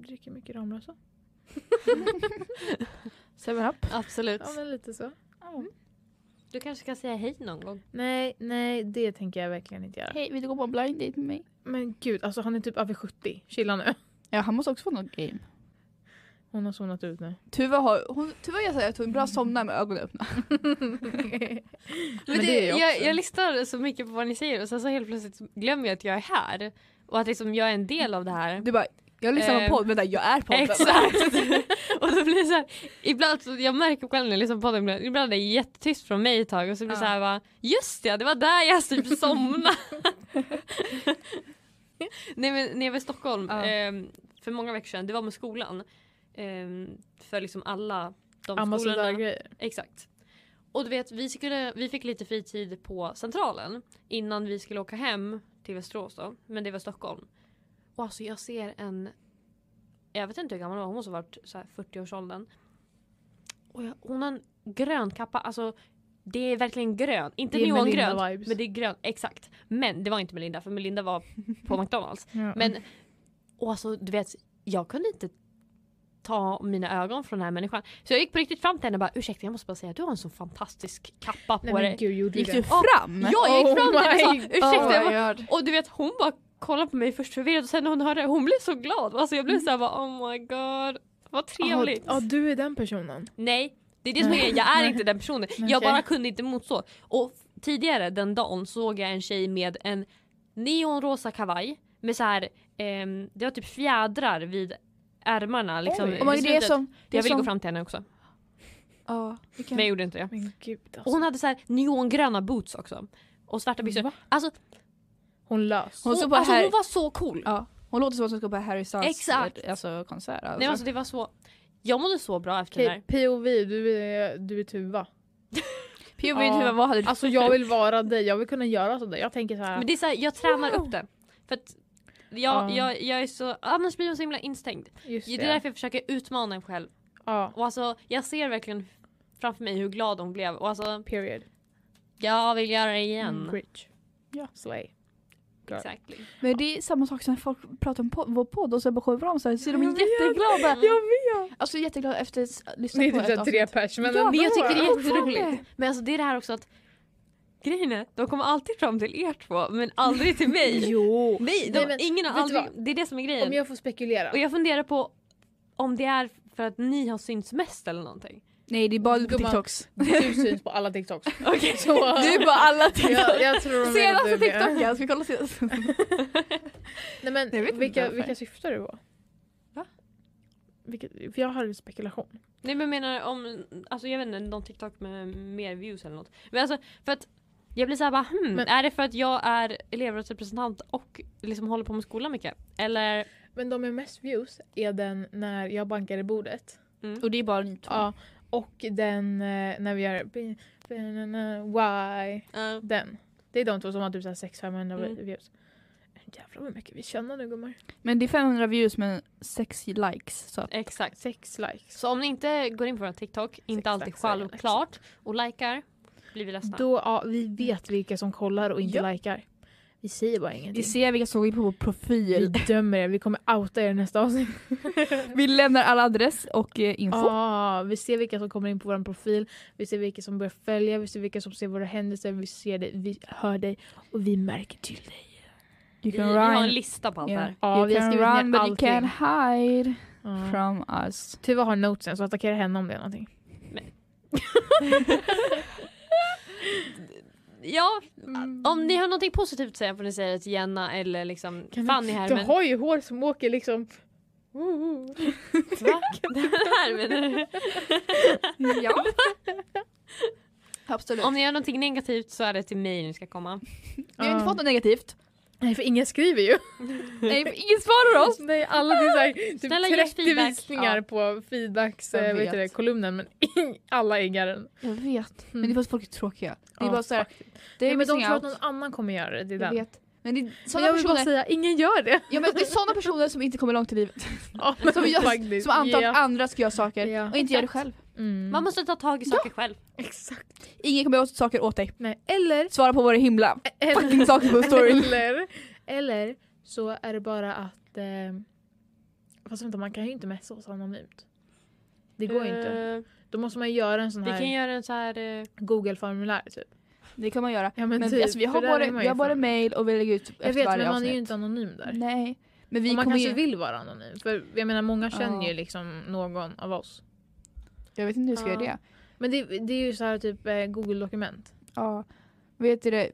Speaker 2: dricker mycket Ramlösa.
Speaker 1: Seven up?
Speaker 3: Absolut.
Speaker 2: Ja, men lite så.
Speaker 1: Mm.
Speaker 3: Du kanske kan säga hej någon gång.
Speaker 2: Nej, nej, det tänker jag verkligen inte göra.
Speaker 1: Hej, vill du gå på en blind date med mig?
Speaker 2: Men gud, alltså han är typ över 70. Chilla nu.
Speaker 1: Ja han måste också få något game.
Speaker 2: Hon har zonat ut nu.
Speaker 1: Tuva har, hon, Tuva jag säger att hon bra somnar med ögonen öppna.
Speaker 3: Men
Speaker 2: det
Speaker 3: det,
Speaker 2: är jag
Speaker 3: jag,
Speaker 2: också.
Speaker 3: jag, lyssnar så mycket på vad ni säger och sen så helt plötsligt glömmer jag att jag är här. Och att liksom jag är en del av det här.
Speaker 1: Du bara, jag lyssnar på
Speaker 3: Eh,
Speaker 1: en podd, vänta jag är podden.
Speaker 3: Exakt! och då blir det så här, ibland, så jag märker själv när jag lyssnar på podden, ibland- ibland är det jättetyst från mig ett tag och så blir
Speaker 1: Ja.
Speaker 3: det så här bara, just det, det var där jag typ somnade. Nej men nere vid Stockholm,
Speaker 1: Ja.
Speaker 3: ehm, för många veckor sedan, det var med skolan. ehm, för liksom alla de skolorna.
Speaker 2: Ambassadörgrejer.
Speaker 3: Exakt. Och du vet, vi, skulle, vi fick lite fritid på Centralen innan vi skulle åka hem till Västerås då, men det var Stockholm. Och alltså jag ser en, jag vet inte hur gammal hon var, hon måste ha varit så här 40-årsåldern. Och jag, hon har en grön kappa, alltså det är verkligen grön, inte
Speaker 2: Det är
Speaker 3: neongrönt,
Speaker 2: Melinda vibes.
Speaker 3: men det är grön, exakt. Men det var inte Melinda, för Melinda var på McDonalds.
Speaker 2: Ja.
Speaker 3: Men och alltså du vet, jag kunde inte ta mina ögon från den här människan. Så jag gick på riktigt fram till henne och bara ursäkta jag måste bara säga du har en sån fantastisk kappa på
Speaker 2: nej,
Speaker 3: dig.
Speaker 2: men gud, gjorde du
Speaker 1: Gick
Speaker 2: det?
Speaker 1: du fram? Oh
Speaker 3: Jag gick
Speaker 2: Oh
Speaker 3: fram till henne och sa
Speaker 2: my
Speaker 3: ursäkta. jag bara,
Speaker 1: god.
Speaker 3: och du vet hon bara kollade på mig först förvirrad och sen när hon hörde det, hon blev så glad. Alltså jag blev
Speaker 2: Mm.
Speaker 3: såhär bara oh my god. Vad trevligt.
Speaker 2: Ja, du är den personen.
Speaker 3: Nej, det är det som är Jag är inte den personen.
Speaker 2: Nej,
Speaker 3: Jag
Speaker 2: okej.
Speaker 3: bara kunde inte motstå. Och f- tidigare den dagen såg jag en tjej med en neonrosa kavaj med så här, ehm, det var typ fjädrar vid ärmarna. Liksom,
Speaker 2: Oj.
Speaker 3: vid
Speaker 1: Och man, Oh det är
Speaker 3: slutet.
Speaker 1: som, det är
Speaker 3: jag ville
Speaker 1: som,
Speaker 3: gå fram till henne också,
Speaker 1: Ja, vi kan-
Speaker 3: men jag gjorde inte det.
Speaker 2: Men gud
Speaker 3: Och
Speaker 2: alltså.
Speaker 3: hon hade så här neongröna boots också. Och svarta byxor.
Speaker 2: Va?
Speaker 3: Alltså,
Speaker 2: Hon lös.
Speaker 1: Mm. Hon
Speaker 3: hon,
Speaker 1: såg bara
Speaker 3: alltså
Speaker 1: här-
Speaker 3: hon var så cool.
Speaker 1: ja. Hon låter som att hon ska på Harry Styles
Speaker 3: Exakt.
Speaker 1: Alltså, konsert. Alltså.
Speaker 3: Nej, men alltså, det var så... Jag mådde så bra efter det
Speaker 2: Okej,
Speaker 3: där.
Speaker 2: POV, du är, du är Tuva.
Speaker 1: POV,
Speaker 2: Ja.
Speaker 1: Tuva, vad hade du?
Speaker 2: Alltså jag vill vara dig, jag vill kunna göra sådär. Jag tänker så här.
Speaker 3: Men det är så här, jag tränar upp det. För att jag,
Speaker 2: Ja.
Speaker 3: jag, jag är så, annars blir man så himla instängd.
Speaker 2: just
Speaker 3: Det är därför jag försöker utmana mig själv.
Speaker 2: Ja,
Speaker 3: Och alltså, jag ser verkligen framför mig hur glad hon blev. Och alltså,
Speaker 2: period.
Speaker 3: jag vill göra det igen.
Speaker 2: Rich.
Speaker 1: Ja.
Speaker 2: Slay. Bra.
Speaker 3: Exactly.
Speaker 1: Men det är samma sak som när folk pratar om po- vår podd och så bara kommer fram så här, så är de
Speaker 3: Jag vet.
Speaker 1: jätteglada.
Speaker 3: Jag
Speaker 1: vet! Alltså jätteglada efter att lyssna
Speaker 2: Det är
Speaker 1: på
Speaker 2: typ
Speaker 1: ett
Speaker 2: såhär tre
Speaker 1: avsnitt.
Speaker 2: pers men
Speaker 1: Ja,
Speaker 2: ändå.
Speaker 3: Men jag tycker det är
Speaker 1: fan
Speaker 3: jätteroligt. Men alltså det är det här också att grejen är, de kommer alltid fram till er två men aldrig till mig.
Speaker 2: Jo.
Speaker 3: Nej, de,
Speaker 2: Nej, men
Speaker 3: ingen har
Speaker 2: vet du
Speaker 3: aldrig, det är det som är grejen.
Speaker 2: Om jag får spekulera.
Speaker 3: Och jag funderar på om det är för att ni har synts mest eller någonting.
Speaker 1: Nej det är bara du på
Speaker 2: Gumman.
Speaker 1: TikToks.
Speaker 2: Du syns på alla TikToks.
Speaker 3: Okej.
Speaker 2: Så,
Speaker 1: Du är bara alla
Speaker 2: jag,
Speaker 1: TikToks.
Speaker 2: jag tror de menar att
Speaker 1: Senaste
Speaker 2: du är
Speaker 1: TikToken,
Speaker 2: med.
Speaker 1: ska vi kolla senaste?
Speaker 2: Nej men
Speaker 1: Jag vet inte
Speaker 2: vilka,
Speaker 1: varför.
Speaker 2: vilka syftar du på?
Speaker 3: Va?
Speaker 2: Vilka, för jag har en spekulation.
Speaker 3: Nej men jag menar om, alltså jag vet inte, någon TikTok med mer views eller något. Men alltså för att Jag blir såhär bara hmm,
Speaker 2: Men-
Speaker 3: är det för att jag är elevrådsrepresentant och liksom håller på med skolan mycket? Eller?
Speaker 2: Men de med mest views är den när jag bankar i bordet.
Speaker 3: mm.
Speaker 1: Och det är bara ni två.
Speaker 2: Ja. Och den eh, när vi gör bi- banana, why. Den. Det är de två som har typ så här 600 500
Speaker 3: Mm.
Speaker 2: views. Jävlar vad mycket vi tjänar nu gummor.
Speaker 1: Men det är 500 views men 6 likes. Så att,
Speaker 3: Exakt.
Speaker 2: Sex likes.
Speaker 3: Så om ni inte går in på vår TikTok, inte alltid
Speaker 2: likes, sex
Speaker 3: självklart, och likar, blir vi ledsna.
Speaker 2: Då, ja, vi vet vilka som kollar och inte
Speaker 1: Ja.
Speaker 2: likar. Vi säger bara
Speaker 1: vi
Speaker 2: ingenting.
Speaker 1: ser vilka som går in på vår
Speaker 2: Vi
Speaker 1: profil.
Speaker 2: dömer er, vi kommer outa er i nästa avsnitt.
Speaker 1: Vi lämnar alla adress och eh, info.
Speaker 2: Ja, vi ser vilka som kommer in på vår profil, vi ser vilka som börjar följa, vi ser vilka som ser våra händelser, vi ser dig, vi hör dig och vi märker till dig.
Speaker 1: You
Speaker 3: vi,
Speaker 1: can
Speaker 3: vi har en
Speaker 1: run.
Speaker 3: lista på allt det
Speaker 1: Yeah.
Speaker 3: här.
Speaker 2: Ja,
Speaker 1: you
Speaker 2: vi har
Speaker 1: can
Speaker 2: skrivit ner
Speaker 1: run but you
Speaker 2: allting.
Speaker 1: can hide
Speaker 2: Ja.
Speaker 1: from us.
Speaker 2: Tuva har notesen så attackera henne om det är någonting.
Speaker 3: Ja,
Speaker 2: Mm.
Speaker 3: om ni har något positivt att säga får ni säga det till Jenna eller liksom
Speaker 2: Kan vi-
Speaker 3: Fanny här.
Speaker 2: Du
Speaker 3: men-
Speaker 2: har ju hår som åker liksom... Woo.
Speaker 3: Va? Det här menar du?
Speaker 1: ja. Absolut.
Speaker 3: Om ni gör någonting negativt så är det till mig ni ska komma.
Speaker 1: Vi har inte
Speaker 2: Ja.
Speaker 1: fått något negativt.
Speaker 2: Nej för ingen skriver ju.
Speaker 1: Nej, ingen svarar oss.
Speaker 2: Alltså, Nej alla det är så här, typ
Speaker 3: Snälla, ge oss
Speaker 2: 30
Speaker 3: feedback.
Speaker 2: visningar
Speaker 3: Ja.
Speaker 2: på feedbacks,
Speaker 1: Jag
Speaker 2: eh, vet
Speaker 1: vet.
Speaker 2: du det, kolumnen men alla äggar den.
Speaker 1: Jag vet. Men det är för att folk är tråkiga. Det är
Speaker 2: Ja,
Speaker 1: bara såhär. Det
Speaker 2: Nej,
Speaker 1: är
Speaker 2: men de
Speaker 1: missing
Speaker 2: tror att
Speaker 1: out.
Speaker 2: någon annan kommer göra det, det är
Speaker 1: Jag
Speaker 2: den.
Speaker 1: vet. Men det är
Speaker 2: Men
Speaker 1: sådana
Speaker 2: jag vill bara
Speaker 1: personer,
Speaker 2: säga, ingen gör det!
Speaker 1: ja, men det är såna personer som inte kommer långt i livet.
Speaker 2: Ja,
Speaker 1: Som, gör, som antar att andra ska göra saker
Speaker 2: Ja.
Speaker 1: och inte gör det själv.
Speaker 2: Mm.
Speaker 3: Man måste ta tag i saker själv.
Speaker 2: Exakt.
Speaker 1: Ingen kommer göra saker åt dig.
Speaker 2: Nej. Eller, e-,
Speaker 1: Svara på våra himla
Speaker 2: eller,
Speaker 1: fucking saker på storyn.
Speaker 2: eller, eller så är det bara att... Eh, fast vänta, man kan ju inte messa oss anonymt. Det går ju inte.
Speaker 3: Eh,
Speaker 2: Då måste man göra en sån
Speaker 3: Vi kan
Speaker 2: här
Speaker 3: göra en så här... eh,
Speaker 2: Google-formulär typ.
Speaker 1: Det kan man göra.
Speaker 2: Ja,
Speaker 1: Men
Speaker 2: typ,
Speaker 1: alltså, vi
Speaker 2: för
Speaker 1: har
Speaker 2: där
Speaker 1: både,
Speaker 2: är man
Speaker 1: vi
Speaker 2: ju
Speaker 1: har både
Speaker 2: fan-
Speaker 1: mail och vi lägger ut
Speaker 2: Jag
Speaker 1: efter
Speaker 2: vet, men
Speaker 1: varje
Speaker 2: man är ju
Speaker 1: avsnitt.
Speaker 2: inte anonym där.
Speaker 1: Nej. Men vi
Speaker 2: och man
Speaker 1: kommer
Speaker 2: kanske
Speaker 1: ju...
Speaker 2: vill vara anonym. För jag menar, många känner
Speaker 1: Ja.
Speaker 2: ju liksom någon av oss.
Speaker 1: Jag vet inte hur vi ska
Speaker 3: Ja.
Speaker 1: göra det.
Speaker 2: Men det, det är ju så här typ eh, Google-dokument.
Speaker 1: Ja. Vet du det?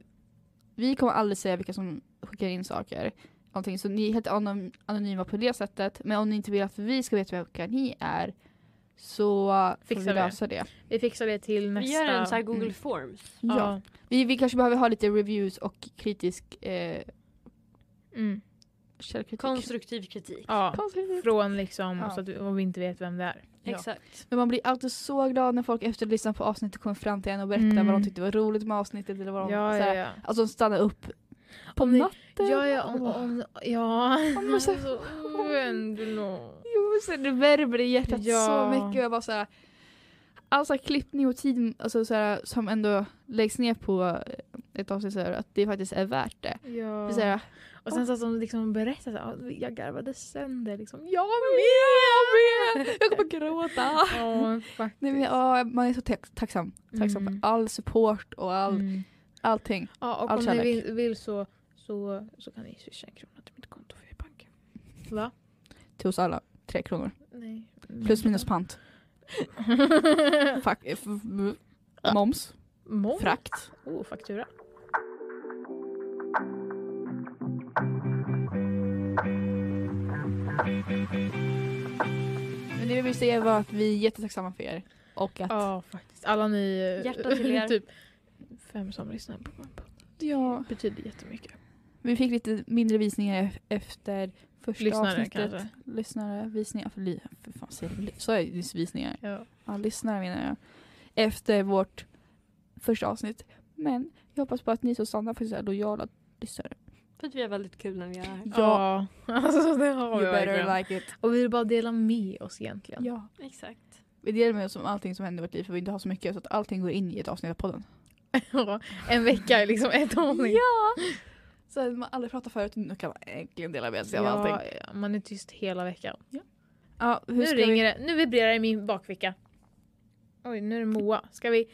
Speaker 1: Vi kommer aldrig säga vilka som skickar in saker. Någonting. Så ni är helt anom- anonyma på det sättet. Men om ni inte vill att vi ska veta vilka ni är så
Speaker 2: Fixar
Speaker 1: får vi
Speaker 2: vi det.
Speaker 1: lösa det.
Speaker 2: Vi fixar det till nästa...
Speaker 3: vi gör en så här Google
Speaker 1: Mm.
Speaker 3: Forms.
Speaker 1: Ja.
Speaker 2: Ja.
Speaker 1: Vi, vi kanske behöver ha lite reviews och kritisk eh,
Speaker 2: Mm.
Speaker 1: källkritik.
Speaker 3: Konstruktiv kritik.
Speaker 2: ja.
Speaker 1: Konstruktiv.
Speaker 2: Från liksom,
Speaker 1: Ja.
Speaker 2: så att vi, om vi inte vet vem det är.
Speaker 1: Ja.
Speaker 3: Exakt.
Speaker 1: Men man blir alltid så glad när folk efter att ha lyssnat på avsnittet kommer fram till en och berättar
Speaker 2: Mm.
Speaker 1: vad de tyckte var roligt med avsnittet eller vad de
Speaker 2: Ja,
Speaker 1: såhär,
Speaker 2: ja, ja.
Speaker 1: Alltså de stannar upp på
Speaker 2: Om ni-
Speaker 1: natten.
Speaker 2: Ja, ja, om,
Speaker 1: Åh.
Speaker 2: om, ja.
Speaker 1: men så-
Speaker 2: Alltså, ändå.
Speaker 1: Jo, så det värmer i hjärtat
Speaker 2: Ja.
Speaker 1: så mycket. och Jag bara såhär, all så här klippning och tid alltså så här, som ändå läggs ner på eh, ett avsnitt, så här, att det faktiskt är värt det.
Speaker 2: Ja.
Speaker 1: Det är Så här,
Speaker 2: Och sen så att de liksom berättar att jag garvade sönder liksom.
Speaker 1: jag med, jag med! Jag kommer gråta.
Speaker 2: Ja, faktiskt.
Speaker 1: Nej, men, ja, man är så tack- tacksam. tacksam
Speaker 2: Mm.
Speaker 1: för all support och all,
Speaker 2: Mm.
Speaker 1: allting.
Speaker 2: Ja, och
Speaker 1: all
Speaker 2: om ni
Speaker 1: kärlek.
Speaker 2: vill, vill så, så, så kan ni swisha en krona till mitt konto för jag är i banken. Va?
Speaker 1: Till oss alla. Tre kronor.
Speaker 2: Nej.
Speaker 1: Plus minus pant. Fuck, eh, f- f- moms.
Speaker 2: Moms?
Speaker 1: Frakt.
Speaker 2: Oh, faktura.
Speaker 1: Men det vi vill säga var att vi är jättetacksamma för er. Och att
Speaker 2: Ja, faktiskt. Alla ni... eh,
Speaker 3: Hjärta till er.
Speaker 2: typ fem som lyssnar på vår podd.
Speaker 1: ja,
Speaker 2: Betyder jättemycket.
Speaker 1: vi fick lite mindre visningar ef- efter första
Speaker 2: Lyssnare
Speaker 1: avsnittet.
Speaker 2: kanske.
Speaker 1: Lyssnare, visningar. För, li- för fan, säger jag li- så är det just visningar.
Speaker 2: Ja.
Speaker 1: Ja, lyssnare menar jag. Efter vårt första avsnitt. Men jag hoppas på att ni som stannar faktiskt är lojala lyssnare.
Speaker 3: För att vi är väldigt kul när vi är här.
Speaker 1: Ja,
Speaker 2: ja. Alltså det har vi
Speaker 1: you
Speaker 2: verkligen.
Speaker 1: better like it.
Speaker 2: Och vi vill bara dela med oss egentligen.
Speaker 1: Ja.
Speaker 3: Exakt.
Speaker 1: Vi delar med oss om allting som händer i vårt liv för vi inte har så mycket så att allting går in i ett avsnitt av podden.
Speaker 2: en vecka är liksom ett avsnitt.
Speaker 1: Så att man aldrig pratar förut, nu kan man äntligen dela
Speaker 2: Alltså,
Speaker 1: med sig av allting.
Speaker 2: ja, man är tyst hela veckan.
Speaker 1: Ja, hur
Speaker 2: Nu
Speaker 1: ska
Speaker 2: ringer det. Nu vibrerar det i min bakficka. Oj, nu är det Moa. Ska vi...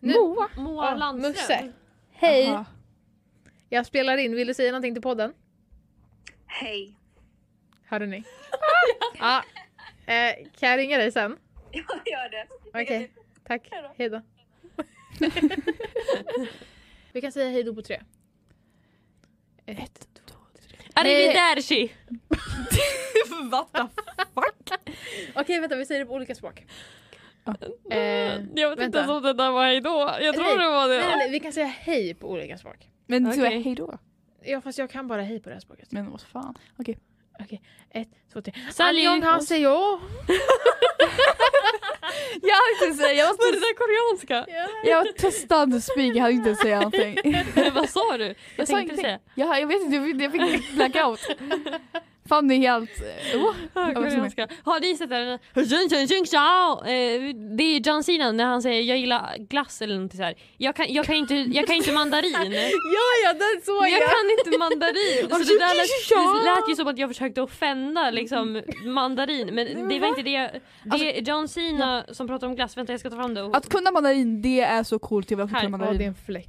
Speaker 1: vi...
Speaker 2: Nu-
Speaker 1: Moa!
Speaker 3: Moa
Speaker 2: Ja,
Speaker 3: Landström.
Speaker 2: ah, Musse. Hej!
Speaker 1: Jaha.
Speaker 2: Jag spelar in. Vill du säga någonting till podden?
Speaker 4: Hej.
Speaker 2: Hörde ni? ja. Eh, kan jag ringa dig sen?
Speaker 4: Jag gör det.
Speaker 2: Okej. Tack.
Speaker 4: Hej då.
Speaker 2: Hej då. vi kan säga hej då på tre.
Speaker 1: Ett, två, tre.
Speaker 3: Arrivederci!
Speaker 1: What the fuck?
Speaker 2: Okej, vänta. Vi säger det på olika språk. Eh,
Speaker 3: jag vet inte
Speaker 2: vänta.
Speaker 3: ens om det där var hejdå. Jag tror det var det.
Speaker 2: nej, nej, nej, vi kan säga hej på olika språk.
Speaker 1: Men du är
Speaker 3: Okej.
Speaker 1: hejdå.
Speaker 2: Ja fast jag kan bara hej på det här språket.
Speaker 1: Men vad fan.
Speaker 2: Ett, två, tre.
Speaker 3: Salut!
Speaker 2: Annyeonghaseyo!
Speaker 1: Jag hann inte ens säga, jag
Speaker 3: Var det
Speaker 1: var,
Speaker 3: där koreanska?
Speaker 1: jag var testande spyg, jag hann inte ens säga någonting.
Speaker 3: Vad sa du?
Speaker 1: Jag
Speaker 3: Jag
Speaker 1: sa
Speaker 3: tänkte
Speaker 1: ingenting.
Speaker 3: säga.
Speaker 1: Jag, jag vet inte, jag fick- jag fick blackout. Fanny är helt... Oh.
Speaker 3: Ja,
Speaker 1: vad sa
Speaker 3: koreanska. Har ni sett den? Jun, jun, jun, chao. Eh, Det är John Cena när han säger jag gillar glass eller något så här. Jag kan, jag kan, inte, jag kan inte mandarin.
Speaker 1: Ja, ja, den såg
Speaker 3: Men jag kan inte mandarin. Så det, där lät, det lät ju som att jag försökte offenda liksom, mandarin. Men det var inte det. Det är John Cena som pratar om glass. Vänta jag ska ta fram det. Och,
Speaker 1: Alltså, Att kunna mandarin, det är så coolt. Jag vill också
Speaker 3: Här,
Speaker 1: kunna
Speaker 2: Ja det är
Speaker 1: mandarin.
Speaker 2: en flex.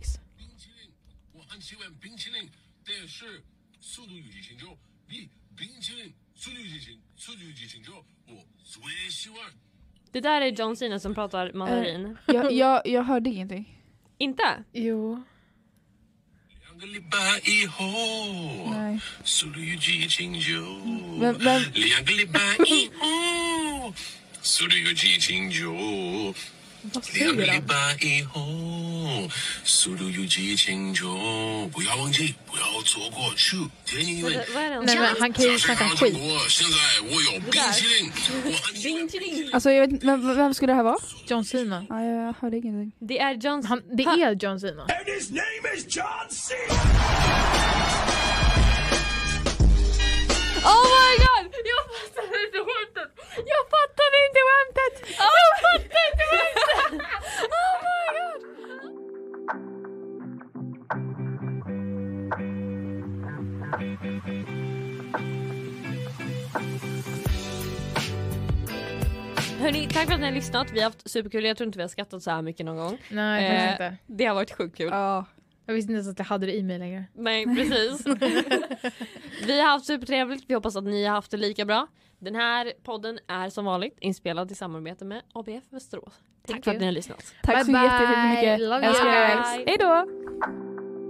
Speaker 5: 冰淇淋，我很喜欢冰淇淋，但是《速度与激情》中，比冰淇淋《速度与激情》《速度与激情》中，我最喜欢。
Speaker 3: det där är John Cena som pratar mandarin.
Speaker 1: Jag, jag, jag hörde ingenting.
Speaker 3: Inte?
Speaker 2: Jo.
Speaker 5: 两个礼拜以后，
Speaker 1: Nej.
Speaker 5: 速度与激情呃九
Speaker 1: Men- men-
Speaker 5: 两个礼拜以后，速度与激情九
Speaker 1: Vad
Speaker 5: 两个
Speaker 1: säger
Speaker 5: 礼
Speaker 1: han?
Speaker 5: 拜以后，速度与激情九不要忘记，不要错过，去，天因为
Speaker 3: Vad är det?
Speaker 2: Nej men han kan ju snacka skit.
Speaker 5: 我现在我有冰淇淋，我很喜欢
Speaker 1: Alltså jag vet inte, vem, vem skulle det här vara?
Speaker 2: John Cena.
Speaker 1: Ja, jag hörde ingenting.
Speaker 3: Det är John Cena.
Speaker 2: Han, det är John Cena.
Speaker 3: Oh my god! Jag fattade inte skämtet! Jag fattade inte skämtet! Jag fattade inte skämtet! Oh my god! Hörni, tack för att ni har lyssnat. Vi har haft superkul. Jag tror inte vi har skrattat så här mycket någon gång.
Speaker 2: Nej
Speaker 3: Eh,
Speaker 2: faktiskt inte.
Speaker 3: Det har varit sjukt kul.
Speaker 1: Ja.
Speaker 2: Jag visste inte ens att jag hade det i mig längre.
Speaker 3: Nej, precis. vi har haft supertrevligt. Vi hoppas att ni har haft det lika bra. Den här podden är som vanligt inspelad i samarbete med ABF Västerås. Tack för att ni har lyssnat.
Speaker 1: Tack så
Speaker 2: Bye bye.
Speaker 1: jättemycket.
Speaker 2: Love
Speaker 1: Älskar
Speaker 2: you
Speaker 1: er.
Speaker 2: guys.
Speaker 1: Hej då!